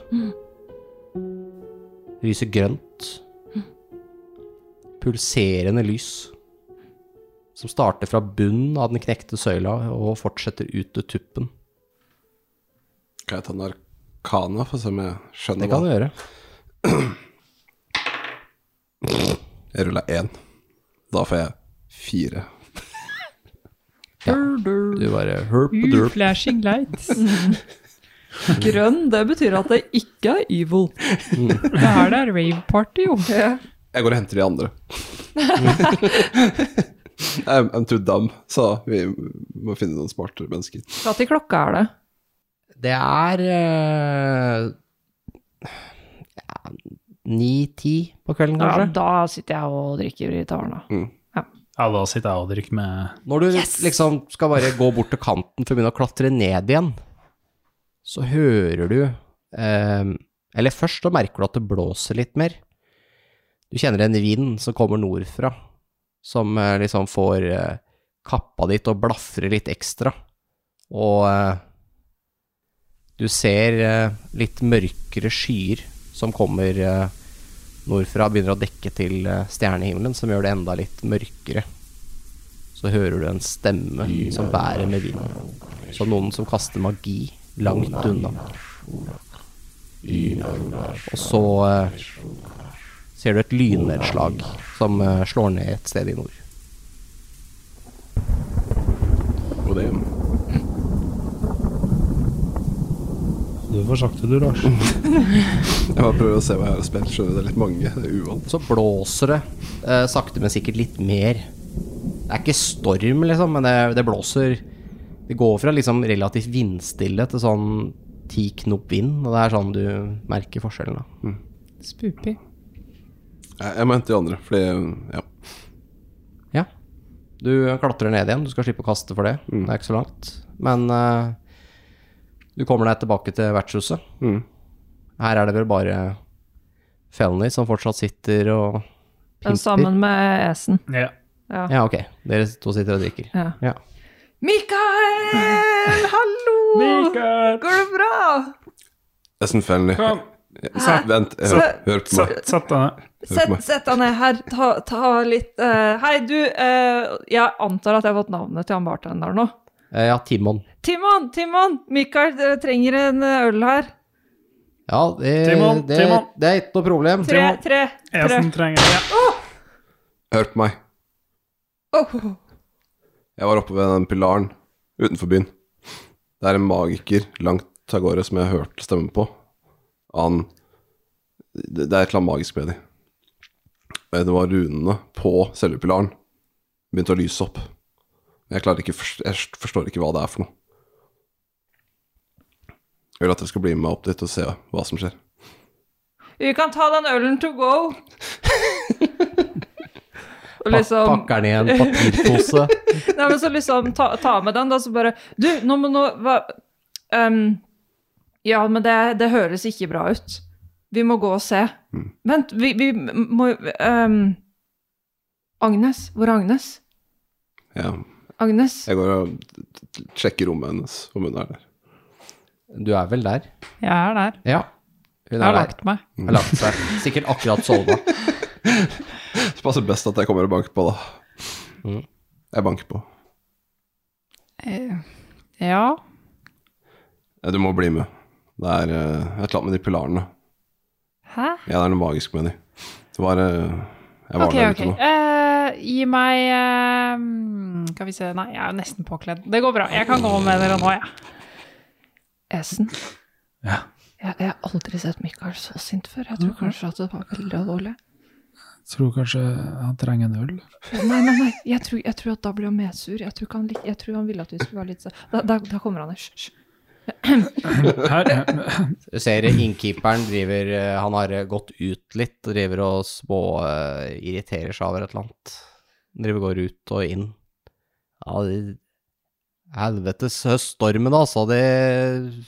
S2: Lyser grønt. Pulserende lys. Som starter fra bunnen av den knekte søyla og fortsetter ut til tuppen.
S5: Kan jeg ta en arkana for å se om jeg skjønner
S2: Det kan
S5: hva-
S2: du gjøre.
S5: Jeg rulla én. Da får jeg fire.
S2: Du bare herp-derp.
S1: Flashing lights.
S3: Grønn, det betyr at det ikke er evil.
S1: Det her det er rave party, jo.
S5: Jeg går og henter de andre. I'm, I'm too dumb, så vi må finne noen smartere mennesker.
S3: Hva til klokka er det?
S2: Det er eh, ni-ti på kvelden,
S3: Ja,
S2: kanskje.
S3: da sitter jeg og drikker i taverna.
S4: Ja, da sitter jeg og drikker med
S2: Når du liksom skal bare gå bort til kanten for å begynne å klatre ned igjen, så hører du eh, Eller først så merker du at det blåser litt mer. Du kjenner en vind som kommer nordfra, som eh, liksom får eh, kappa ditt og blafrer litt ekstra. Og eh, du ser eh, litt mørkere skyer som kommer eh, nordfra, begynner å dekke til eh, stjernehimmelen, som gjør det enda litt mørkere så hører du en stemme som bærer med vinden. Som noen som kaster magi langt unna. Og så eh, ser du et lynnedslag som eh, slår ned et sted i nord.
S5: Og det
S4: Du får sakte, du, Lars.
S5: Jeg bare prøver å se hva jeg har spilt. Skjønner det er litt mange. Det er uvant.
S2: Så blåser det eh, sakte, men sikkert litt mer. Det er ikke storm, liksom, men det, det blåser Det går fra liksom relativt vindstille til sånn ti knop vind, og det er sånn du merker forskjellen, da.
S1: Spoopy.
S5: Jeg, jeg må hente de andre, fordi ja.
S2: Ja. Du klatrer ned igjen, du skal slippe å kaste for det. Det er ikke så langt. Men eh, du kommer deg tilbake til vertshuset.
S5: Mm.
S2: Her er det vel bare Felny som fortsatt sitter og
S3: Den sammen med Esen.
S4: Ja.
S2: Ja, ok. Dere to sitter og drikker.
S3: Ja.
S2: Ja.
S3: Mikael, hallo!
S4: Mikael!
S3: Går det bra?
S5: Esen Fenley.
S4: Kom.
S5: sånn Vent, hør,
S3: Så-
S5: hør
S4: Sett sett
S5: på meg.
S4: deg ned.
S5: Hør på
S3: Sett,
S5: meg.
S3: sett deg ned her, ta, ta litt eh, Hei, du, eh, jeg antar at jeg har fått navnet til han bartenderen nå.
S2: Eh, ja, Timon.
S3: Timon, Timon! Mikael, dere trenger en eh, øl her.
S2: Ja, det,
S4: Timon,
S2: det,
S4: Timon.
S2: det er ikke noe problem.
S3: Tre, tre,
S4: Jeg
S3: tre.
S4: som trenger det.
S5: Hør på meg.
S3: Åh.
S5: Jeg var oppe ved den pilaren utenfor byen. Det er en magiker langt av gårde som jeg har hørt stemmen på. Han Det det er et eller annet magisk med de. Eh, Det var runene på selve pilaren. Begynte å lyse opp. Jeg klarer ikke forst- Jeg forstår ikke hva det er for noe. Jeg vil at dere skal bli med meg opp dit og se hva som skjer.
S3: Vi kan ta den ølen to go. Og
S2: Pa-
S3: liksom,
S2: Pakker ned en papirpose.
S3: nei, men så liksom ta, ta med den, da, så bare Du, nå må nå hva, ehm, Ja, men det, det høres ikke bra ut. Vi må gå og se. Vent, vi, vi må ehm, Agnes? Hvor er Agnes?
S5: Jeg,
S3: Agnes?
S5: jeg går og t- t- sjekker rommet hennes, om hun er der.
S2: Du er vel der?
S1: Jeg er der.
S2: Ja. Hun
S1: Jeg har
S2: er der.
S1: lagt meg.
S2: Har lagt seg. Sikkert akkurat sovna.
S5: Det passer best at jeg kommer og banker på, da.
S2: Mm.
S5: Jeg banker på.
S1: Eh, Ja.
S5: Ja, Du må bli med. Det er eh, et eller annet med de pilarene.
S1: Hæ?
S5: Ja, det er noe magisk med de. Det var eh, Jeg var
S1: Ok,
S5: der
S1: ok.
S5: ute nå.
S1: Eh, gi meg eh, mm, Skal vi se Nei, jeg er jo nesten påkledd. Det går bra. Jeg kan gå med dere nå, jeg.
S3: Esen?
S4: Ja.
S3: Jeg, jeg har aldri sett Mikael så sint før. Jeg tror kanskje at det var veldig alvorlig.
S4: Tror kanskje han trenger en øl.
S3: Nei, nei, nei. Jeg tror, jeg tror at da blir han mer sur. Jeg tror, ikke han, lik- jeg tror han ville at vi skulle være litt sur. Da, da, da kommer han. Hysj, hysj.
S4: Her,
S2: Du ser innkeeperen driver eh, Han har eh, gått ut litt, og driver og små eh, irriterer seg over et eller annet. Han Driver og går ut og inn. Ja, det Helvetes høststormen, altså. Det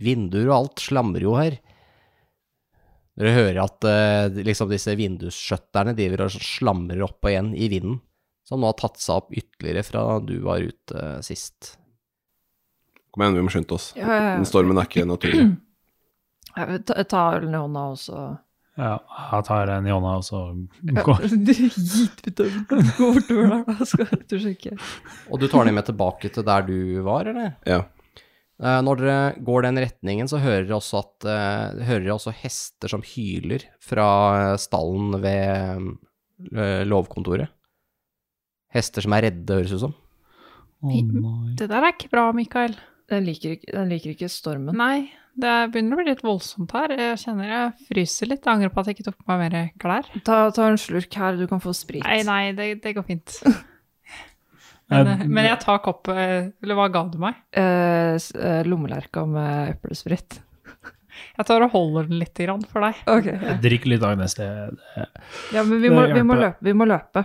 S2: Vinduer og alt slamrer jo her. Dere hører at eh, liksom disse vindusskjøtterne driver og slamrer opp og igjen i vinden. Som nå har tatt seg opp ytterligere fra du var ute eh, sist.
S5: Kom igjen, vi må skynde oss.
S3: Ja, ja, ja.
S5: Den stormen er ikke naturlig.
S3: Jeg vil Eh, Ta, ta ølen i hånda også.
S4: ja, jeg tar en i hånda, og så går
S3: Gitt ut av Gå bortover der, da skal du sjekke.
S2: Og du tar dem med tilbake til der du var, eller?
S5: Ja.
S2: Eh, Når dere går den retningen, så hører dere også, at, eh, hører dere også hester som hyler fra eh, stallen ved eh, lovkontoret. Hester som er redde, høres det ut som.
S4: Å nei.
S1: Det der er ikke bra, Mikael.
S3: Den liker ikke, den liker ikke stormen.
S1: Nei, det begynner å bli litt voldsomt her. Jeg kjenner jeg fryser litt. Jeg angrer på at jeg ikke tok på meg mer klær.
S3: Ta, ta en slurk her, du kan få sprit.
S1: Nei, nei, det, det går fint.
S4: Eh,
S1: Men, eh, men jeg tar kopp eh, Eller hva ga du meg?
S3: Eh, s- eh, lommelerka med eplesprit.
S1: Jeg tar og holder den litt grann for deg.
S3: Ok.
S4: Drikk litt, Agnes. Det det-
S3: Ja, men vi
S4: Det
S3: må, vi må,
S4: hjelper.
S3: løpe, vi må løpe.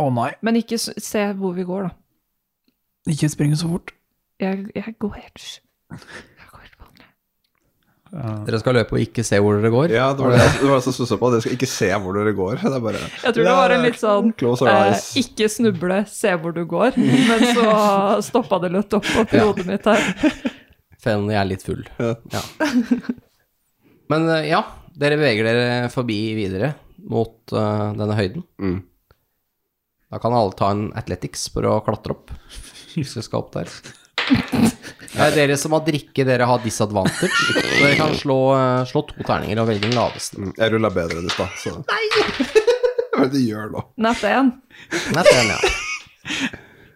S4: Å nei,
S3: Men ikke s- se hvor vi går, da.
S4: ikke springe så fort.
S3: Jeg, jeg går helt Jeg går helt vanlig.
S4: Eh,
S2: Dere skal løpe og ikke se hvor dere går.
S5: Ja, det var det jeg- det var det som stussa på. Dere skal ikke se hvor dere går. Det er bare
S3: Jeg tror det var en litt sånn
S5: Close our
S3: eh,
S5: eyes.
S3: ikke snuble, se hvor du går. Men så stoppa det litt opp oppi
S2: Ja.
S3: hodet mitt her.
S2: Fellen jeg er litt full.
S5: Ja.
S2: Ja. Men eh, ja, dere beveger dere forbi videre mot eh, denne høyden.
S5: Mm.
S2: Da kan alle ta en athletics for å klatre opp. Hvis dere skal opp der. Ja, dere som har drikke, dere har disadvantage. Dere kan slå, eh, slå to terninger og velge den laveste.
S5: Mm. Jeg rulla bedre enn i stad, så Nei! Hva er det du gjør nå?
S3: Natt én.
S2: Nei, den, ja.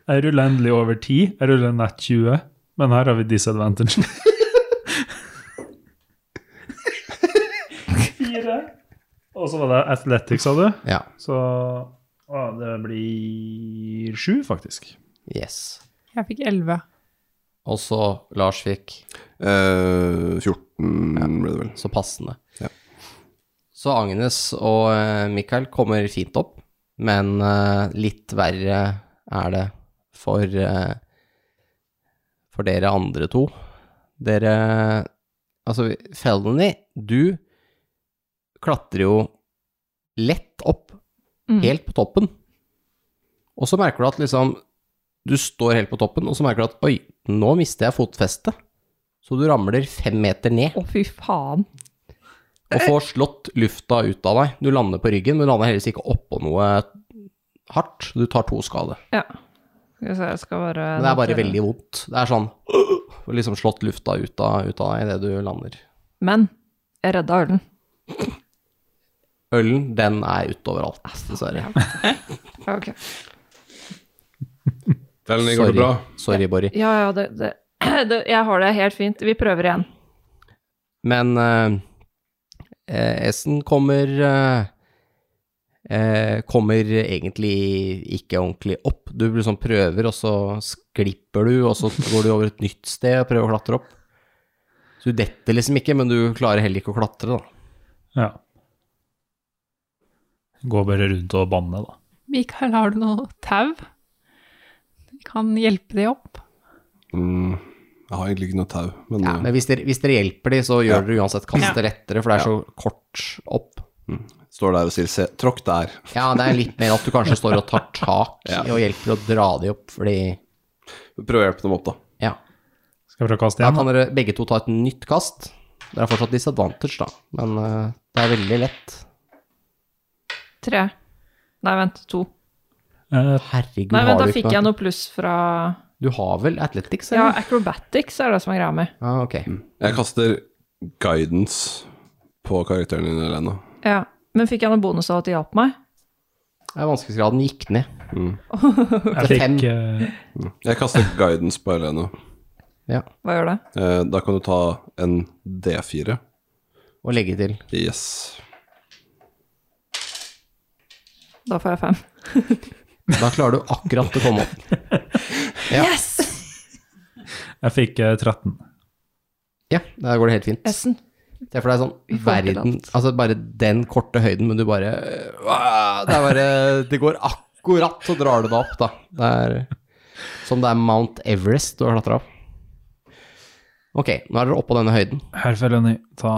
S4: Jeg ruller endelig over 10. Jeg ruller nett 20, men her har vi disadvantage. Fire. Og så var det Athletics, sa du?
S2: ja.
S4: Så å, det blir sju, faktisk.
S2: Yes.
S1: Jeg fikk 11.
S2: Og så Lars fikk
S5: Eh, 14 ble det vel.
S2: så passende.
S5: Ja.
S2: Så Agnes og eh, Mikael kommer fint opp, men eh, litt verre er det for, eh, for dere andre to. Dere Altså, Felony, du klatrer jo lett opp,
S3: Mm.
S2: helt på toppen. Og så merker du at liksom Du står helt på toppen, og så merker du at oi, nå mister jeg fotfestet. Så du ramler fem meter ned
S3: Å, fy faen.
S2: og får slått lufta ut av deg. Du lander på ryggen, men du lander heldigvis ikke oppå noe hardt. Du tar to skade.
S3: Ja. Skal vi se, jeg skal bare
S2: Men det er bare veldig vondt. Det er sånn Får liksom slått lufta ut av, ut av deg idet du lander.
S3: Men jeg redda ølen.
S2: Ølen, den er ute overalt, dessverre.
S3: Ok.
S5: Ellen, går
S2: Sorry.
S5: det bra?
S2: Sorry, Borry.
S3: Ja, ja, det, det, det, jeg har det helt fint. Vi prøver igjen.
S2: Men eh, eh, S-en kommer eh, eh, Kommer egentlig ikke ordentlig opp. Du liksom prøver, og så sklipper du, og så går du over et nytt sted og prøver å klatre opp. Så du detter liksom ikke, men du klarer heller ikke å klatre, da.
S4: Ja. Går bare rundt og banner, da.
S1: Mikael, har du noe tau? Vi kan hjelpe deg opp.
S5: Mm, jeg har egentlig ikke noe tau, men,
S2: Ja,
S5: eh,
S2: men hvis dere, hvis dere hjelper de, så gjør
S5: Ja.
S2: dere uansett kastet lettere, for det er så kort opp.
S5: står der og sier se, tråkk der.
S2: Ja, det er litt mer at du kanskje står og tar tak
S5: Ja.
S2: og hjelper å dra de opp, fordi
S5: Prøv å hjelpe dem opp, da.
S2: Ja.
S4: Skal jeg prøve å kaste
S2: Da
S4: igjen? da?
S2: kan dere begge to ta et nytt kast. Dere har fortsatt disadvantage, da, men eh, det er veldig lett.
S3: Tre. Nei, vent, to.
S4: Eh,
S2: Herregud,
S3: Nei, vent,
S2: har
S3: da
S2: du
S3: fikk
S2: ikke
S3: jeg
S2: noe
S3: noe pluss fra
S2: Du har vel Athletics,
S3: Ja,
S2: eller?
S3: acrobatics er det som er greia mi.
S2: Ah, ok.
S5: Jeg kaster guidance på karakteren din, Elena.
S3: Ja. Men fikk jeg noe bonus av at de hjalp meg?
S2: Ja, Vanskelighetsgraden gikk ned.
S4: jeg fikk eh,
S5: Jeg kaster guidance på Elena.
S2: Ja.
S3: Hva gjør det?
S5: Eh, Da kan du ta en D4.
S2: Og legge til.
S5: Yes.
S3: Da får jeg fem.
S2: Da klarer du akkurat å komme opp.
S3: Yes!
S4: Jeg fikk eh, 13.
S2: Ja, der går det helt fint.
S3: S-en.
S2: Se for deg sånn
S3: får til
S2: verden Altså bare den korte høyden, men du bare øh, Det er bare Det går akkurat, så drar du deg opp, da. Det er som det er Mount Everest du har klatra opp. Ok, nå er dere oppå denne høyden.
S4: Herr Felony, ta,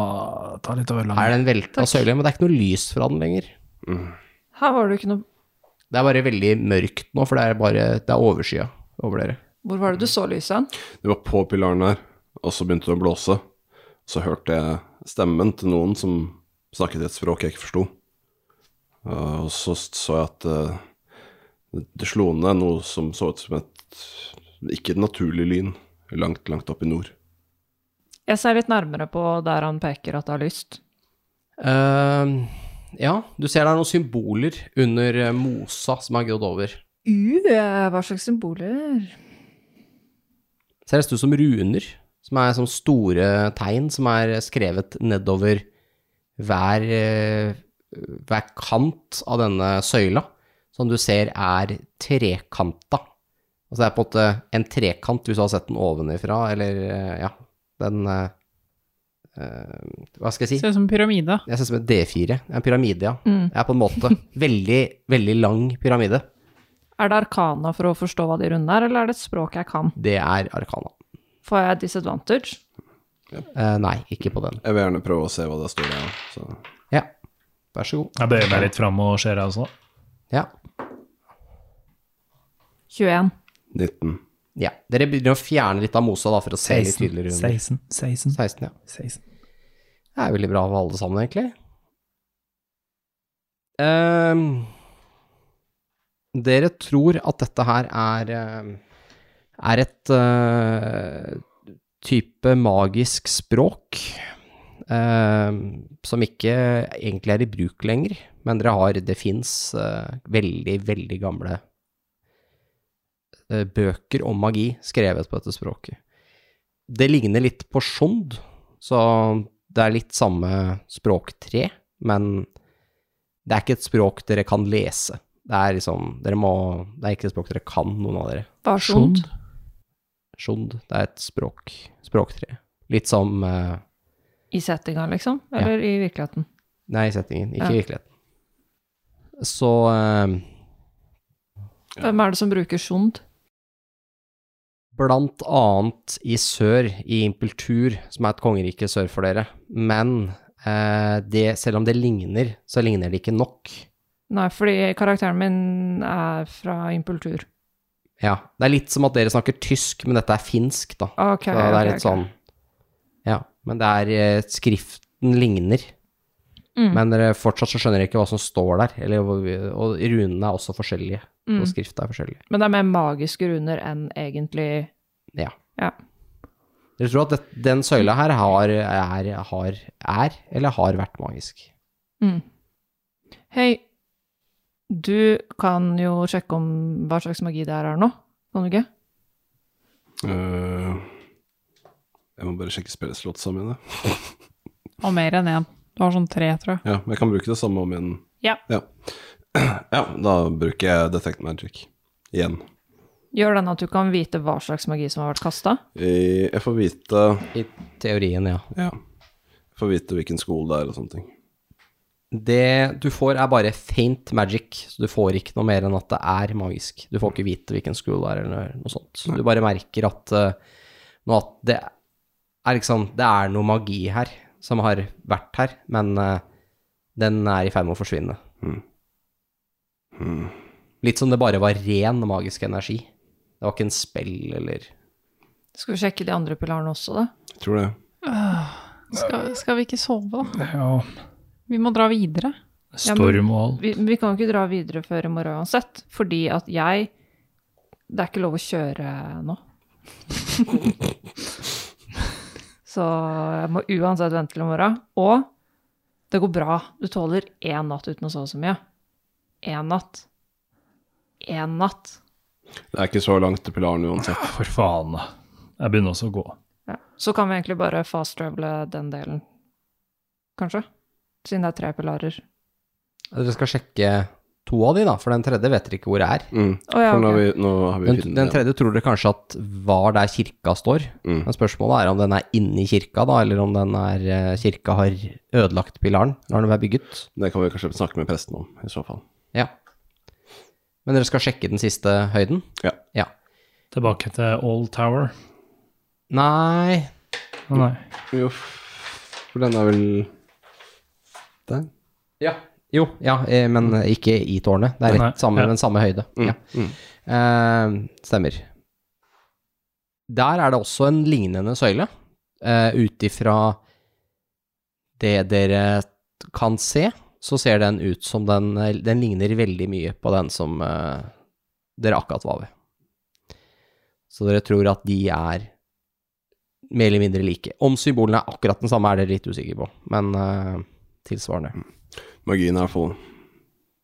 S4: ta litt over
S2: Her
S4: landet.
S2: er det en velta søyle, men det er ikke noe lys fra den lenger.
S3: Her var det jo ikke noe
S2: Det er bare veldig mørkt nå, for det er bare Det er overskya over dere.
S3: Hvor var det du så lyset hen?
S5: Det var på pilaren her, og så begynte det å blåse. Så hørte jeg stemmen til noen som snakket et språk jeg ikke forsto. Eh, Og så så jeg at eh, det det slo ned noe som så ut som et ikke et naturlig lyn, langt, langt opp i nord.
S3: Jeg ser litt nærmere på der han peker at det har lyst.
S2: Ehm, ja, du ser det er noen symboler under eh, mosa som er grodd over.
S3: Uh, hva slags symboler?
S2: Ser nesten ut som runer, som er sånne store tegn som er skrevet nedover hver, eh, hver kant av denne søyla, som du ser er trekanta. Altså det er på en måte en trekant hvis du har sett den ovenifra, eller eh, ja, den eh, eh, Hva skal jeg si?
S1: Ser ut som en pyramide. Mm.
S2: Jeg ser ut som et D4. En pyramide, ja. Jeg er på en måte veldig, veldig lang pyramide.
S3: Er det arkana for å forstå hva de runde er, eller er det et språk jeg kan?
S2: Det er arkana.
S3: Får jeg disadvantage?
S2: Eh, nei, ikke på den.
S5: Jeg vil gjerne prøve å se hva det står der. Så.
S2: Ja, vær så god.
S4: Jeg bøyer meg litt fram og ser deg også.
S2: Ja.
S3: 21.
S5: 19.
S2: ja. Dere begynner å fjerne litt av mosa da, for å se litt tydeligere under.
S4: 16, 16,
S2: 16, ja.
S4: 16.
S2: Det er veldig bra for alle sammen, egentlig. Ehm, dere tror at dette her er eh, er et eh, type magisk språk eh, som ikke egentlig er i bruk lenger, men dere har, det fins veldig, veldig gamle eh, bøker om magi skrevet på dette språket. Det ligner litt på Sjond, så det er litt samme språktre, men det er ikke et språk dere kan lese. Det er liksom, dere må, det er ikke et språk dere kan, noen av dere.
S3: Hva er sjond?
S2: Sjond, det er et språk, språktre. Litt som eh,
S3: I settinga, liksom? Eller i virkeligheten?
S2: Nei, i settingen, ikke
S3: Ja.
S2: i virkeligheten. Så eh,
S3: Hvem er det som bruker sjond?
S2: blant annet i sør, i Impeltur, som er et kongerike sør for dere. Men eh, det, selv om det ligner, så ligner det ikke nok.
S3: Nei, fordi karakteren min er fra impultur.
S2: Ja, det er litt som at dere snakker tysk, men dette er finsk, da.
S3: Ok.
S2: Så det
S3: ok,
S2: er litt
S3: ok.
S2: sånn Ja, men det er eh, Skriften ligner.
S3: Mm.
S2: Men dere fortsatt så skjønner dere ikke hva som står der. Eller, hvor- og runene er også forskjellige.
S3: Mm.
S2: Og skrifta er forskjellig.
S3: Men det er mer magiske runer enn egentlig
S2: Ja.
S3: Ja.
S2: Dere tror at det, den søyla her har, er, har, er eller har vært magisk.
S3: Mm. Hei, du kan jo sjekke om hva slags magi det her er nå, kan du ikke?
S5: Eh, jeg må bare sjekke spillslåtsa mine.
S1: Og mer enn én. Du har sånn tre, tror jeg.
S5: Ja, men jeg kan bruke det samme om igjen.
S1: Ja.
S5: ja. Ja, da bruker jeg Detect Magic igjen.
S3: Gjør den at du kan vite hva slags magi som har vært kasta?
S5: Eh, Jeg får vite
S2: I teorien, ja.
S5: Ja. Jeg får vite hvilken skole det er og sånne ting.
S2: Det du får, er bare faint magic, så du får ikke noe mer enn at det er magisk. Du får ikke vite hvilken school det er, eller noe sånt. Så du bare merker at, eh, nå at det, er liksom, det er noe magi her, som har vært her, men eh, den er i ferd med å forsvinne.
S5: Hmm.
S2: Litt som det bare var ren magisk energi. Det var ikke en spill eller
S3: Skal vi sjekke de andre pilarene også, da?
S5: Jeg tror det.
S1: Skal, skal vi ikke sove, da?
S4: Ja,
S1: Vi må dra videre.
S4: Stormwall.
S3: Vi, vi kan jo ikke dra videre før i morgen uansett, fordi at jeg Det er ikke lov å kjøre nå. Så jeg må uansett vente til i morgen. Og det går bra. Du tåler én natt uten å sove så mye. Én natt. Én natt.
S5: Det er ikke så langt til pilaren uansett.
S4: For faen, da. Jeg begynner også å gå.
S3: Ja. Så kan vi egentlig bare fast-travele den delen, kanskje? Siden det er tre pilarer.
S2: Altså, Dere skal sjekke to av de, da, for den tredje vet dere ikke hvor det er.
S5: Mm.
S3: Å ja,
S5: For nå har
S3: ok.
S5: vi, nå har vi
S2: Den,
S5: funnet
S2: den
S5: den.
S2: tredje tror dere kanskje at var der kirka står.
S5: Mm.
S2: Men spørsmålet er om den er inni kirka, da, eller om den er, eh, kirka har ødelagt pilaren når den er bygget.
S5: Det kan vi kanskje snakke med presten om, i så fall.
S2: Ja. Men dere skal sjekke den siste høyden?
S5: Ja.
S2: ja.
S4: Tilbake til Old Tower.
S2: Nei
S4: Å, Nei.
S5: Jo, f- for den er vel der?
S2: Ja. Jo, ja, eh, men ikke i tårnet. Det er
S4: Mm. Nei,
S2: rett samme,
S4: ja. Mm,
S2: den samme høyde. Ja. Eh, stemmer. Der er det også en lignende søyle, uh, ut ifra det dere kan se, så ser den ut som den Den ligner veldig mye på den som eh, dere akkurat var ved. Så dere tror at de er mer eller mindre like. Om symbolene er akkurat den samme, er dere litt usikre på, men eh, tilsvarende.
S5: Magien er i hvert fall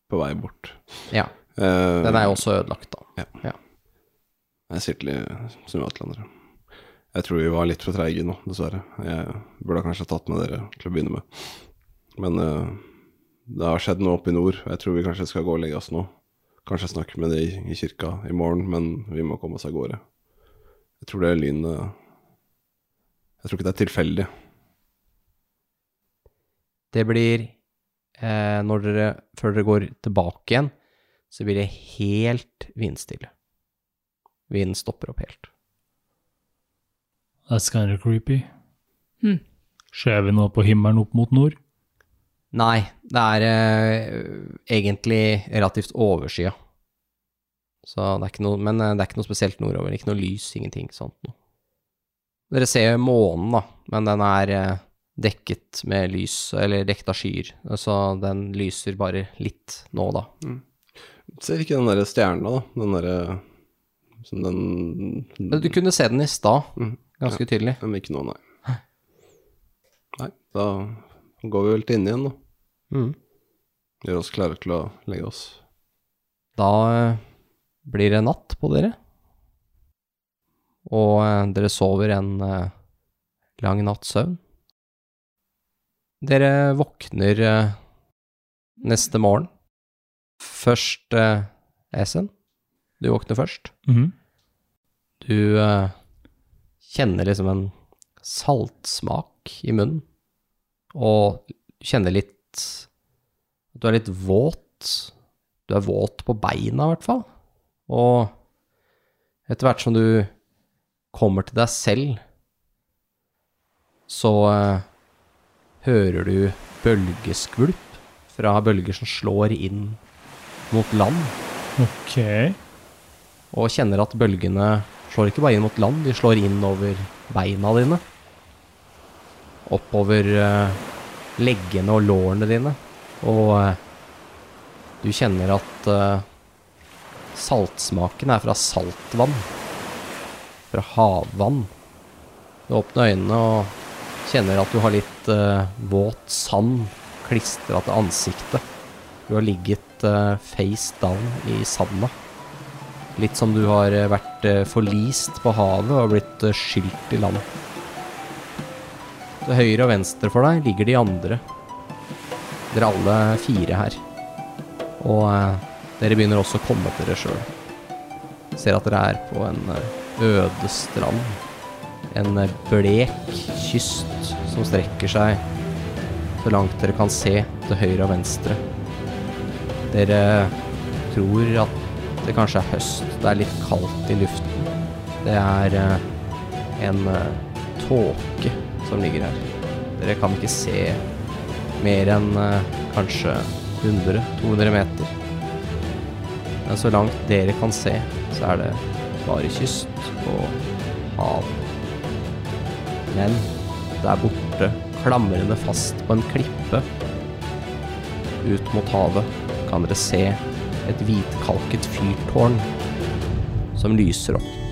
S5: på vei bort.
S2: Ja.
S5: Eh,
S2: Den er jo også ødelagt, da.
S5: Jeg sitter litt som atlandere. Jeg tror vi var litt for treige nå, dessverre. Jeg burde kanskje ha tatt med dere til å begynne med. Men eh, det har skjedd noe oppe i nord, og jeg tror vi kanskje skal gå og legge oss nå. Kanskje snakke med de i kirka i morgen, men vi må komme oss av gårde. Jeg tror det er lyn eh, Jeg tror ikke det er tilfeldig.
S2: Det blir eh, når dere, Før dere går tilbake igjen, så blir det helt vindstille. Vinden stopper opp helt.
S4: That's kind of creepy.
S1: Hmm.
S4: Ser vi noe på himmelen opp mot nord?
S2: Nei, det er eh, egentlig relativt overskya. Så det er ikke noe Men eh, det er ikke noe spesielt nordover. Ikke noe lys, ingenting sånt noe. Dere ser jo månen, da, men den er eh, dekket med lys, eller dekket av skyer. Så den lyser bare litt nå, da.
S5: Ser ikke den derre stjerna, da. Den derre Som den
S2: Men Du kunne se den i stad,
S5: Mhm.
S2: ganske tydelig.
S5: Men ikke nå, nei. Nei, da går vi vel til inne igjen, da.
S2: Mm.
S5: Gjør oss klare til å legge oss.
S2: Da eh, blir det natt på dere. Og eh, dere sover en eh, lang natts søvn. Dere våkner eh, neste morgen. Først eh, Esen. Du våkner først.
S4: Mhm.
S2: Du eh, kjenner liksom en saltsmak i munnen, og kjenner litt at Du er litt våt. Du er våt på beina, i hvert fall. Og etter hvert som du kommer til deg selv, så eh, hører du bølgeskvulp fra bølger som slår inn mot land
S4: Ok.
S2: og kjenner at bølgene slår ikke bare inn mot land, de slår inn over beina dine. Oppover eh, leggene og lårene dine. Og eh, du kjenner at eh, saltsmaken er fra saltvann. Fra havvann. Du åpner øynene og kjenner at du har litt eh, våt sand klistra til ansiktet. Du har ligget eh, face down i sanda. Litt som du har eh, vært eh, forlist på havet og blitt eh, skylt i land. Til høyre og venstre for deg ligger de andre. Dere alle fire her. Og eh, dere begynner også å komme til dere sjøl. Ser at dere er på en eh, øde strand. En eh, blek kyst som strekker seg så langt dere kan se til høyre og venstre. Dere tror at det kanskje er høst. Det er litt kaldt i luften. Det er eh, en eh, tåke som ligger her. Dere kan ikke se mer enn eh, kanskje 100-200 meter. Men så langt dere kan se, så er det bare kyst og hav. Men der borte, klamrende fast på en klippe ut mot havet, kan dere se et hvitkalket fyrtårn som lyser opp.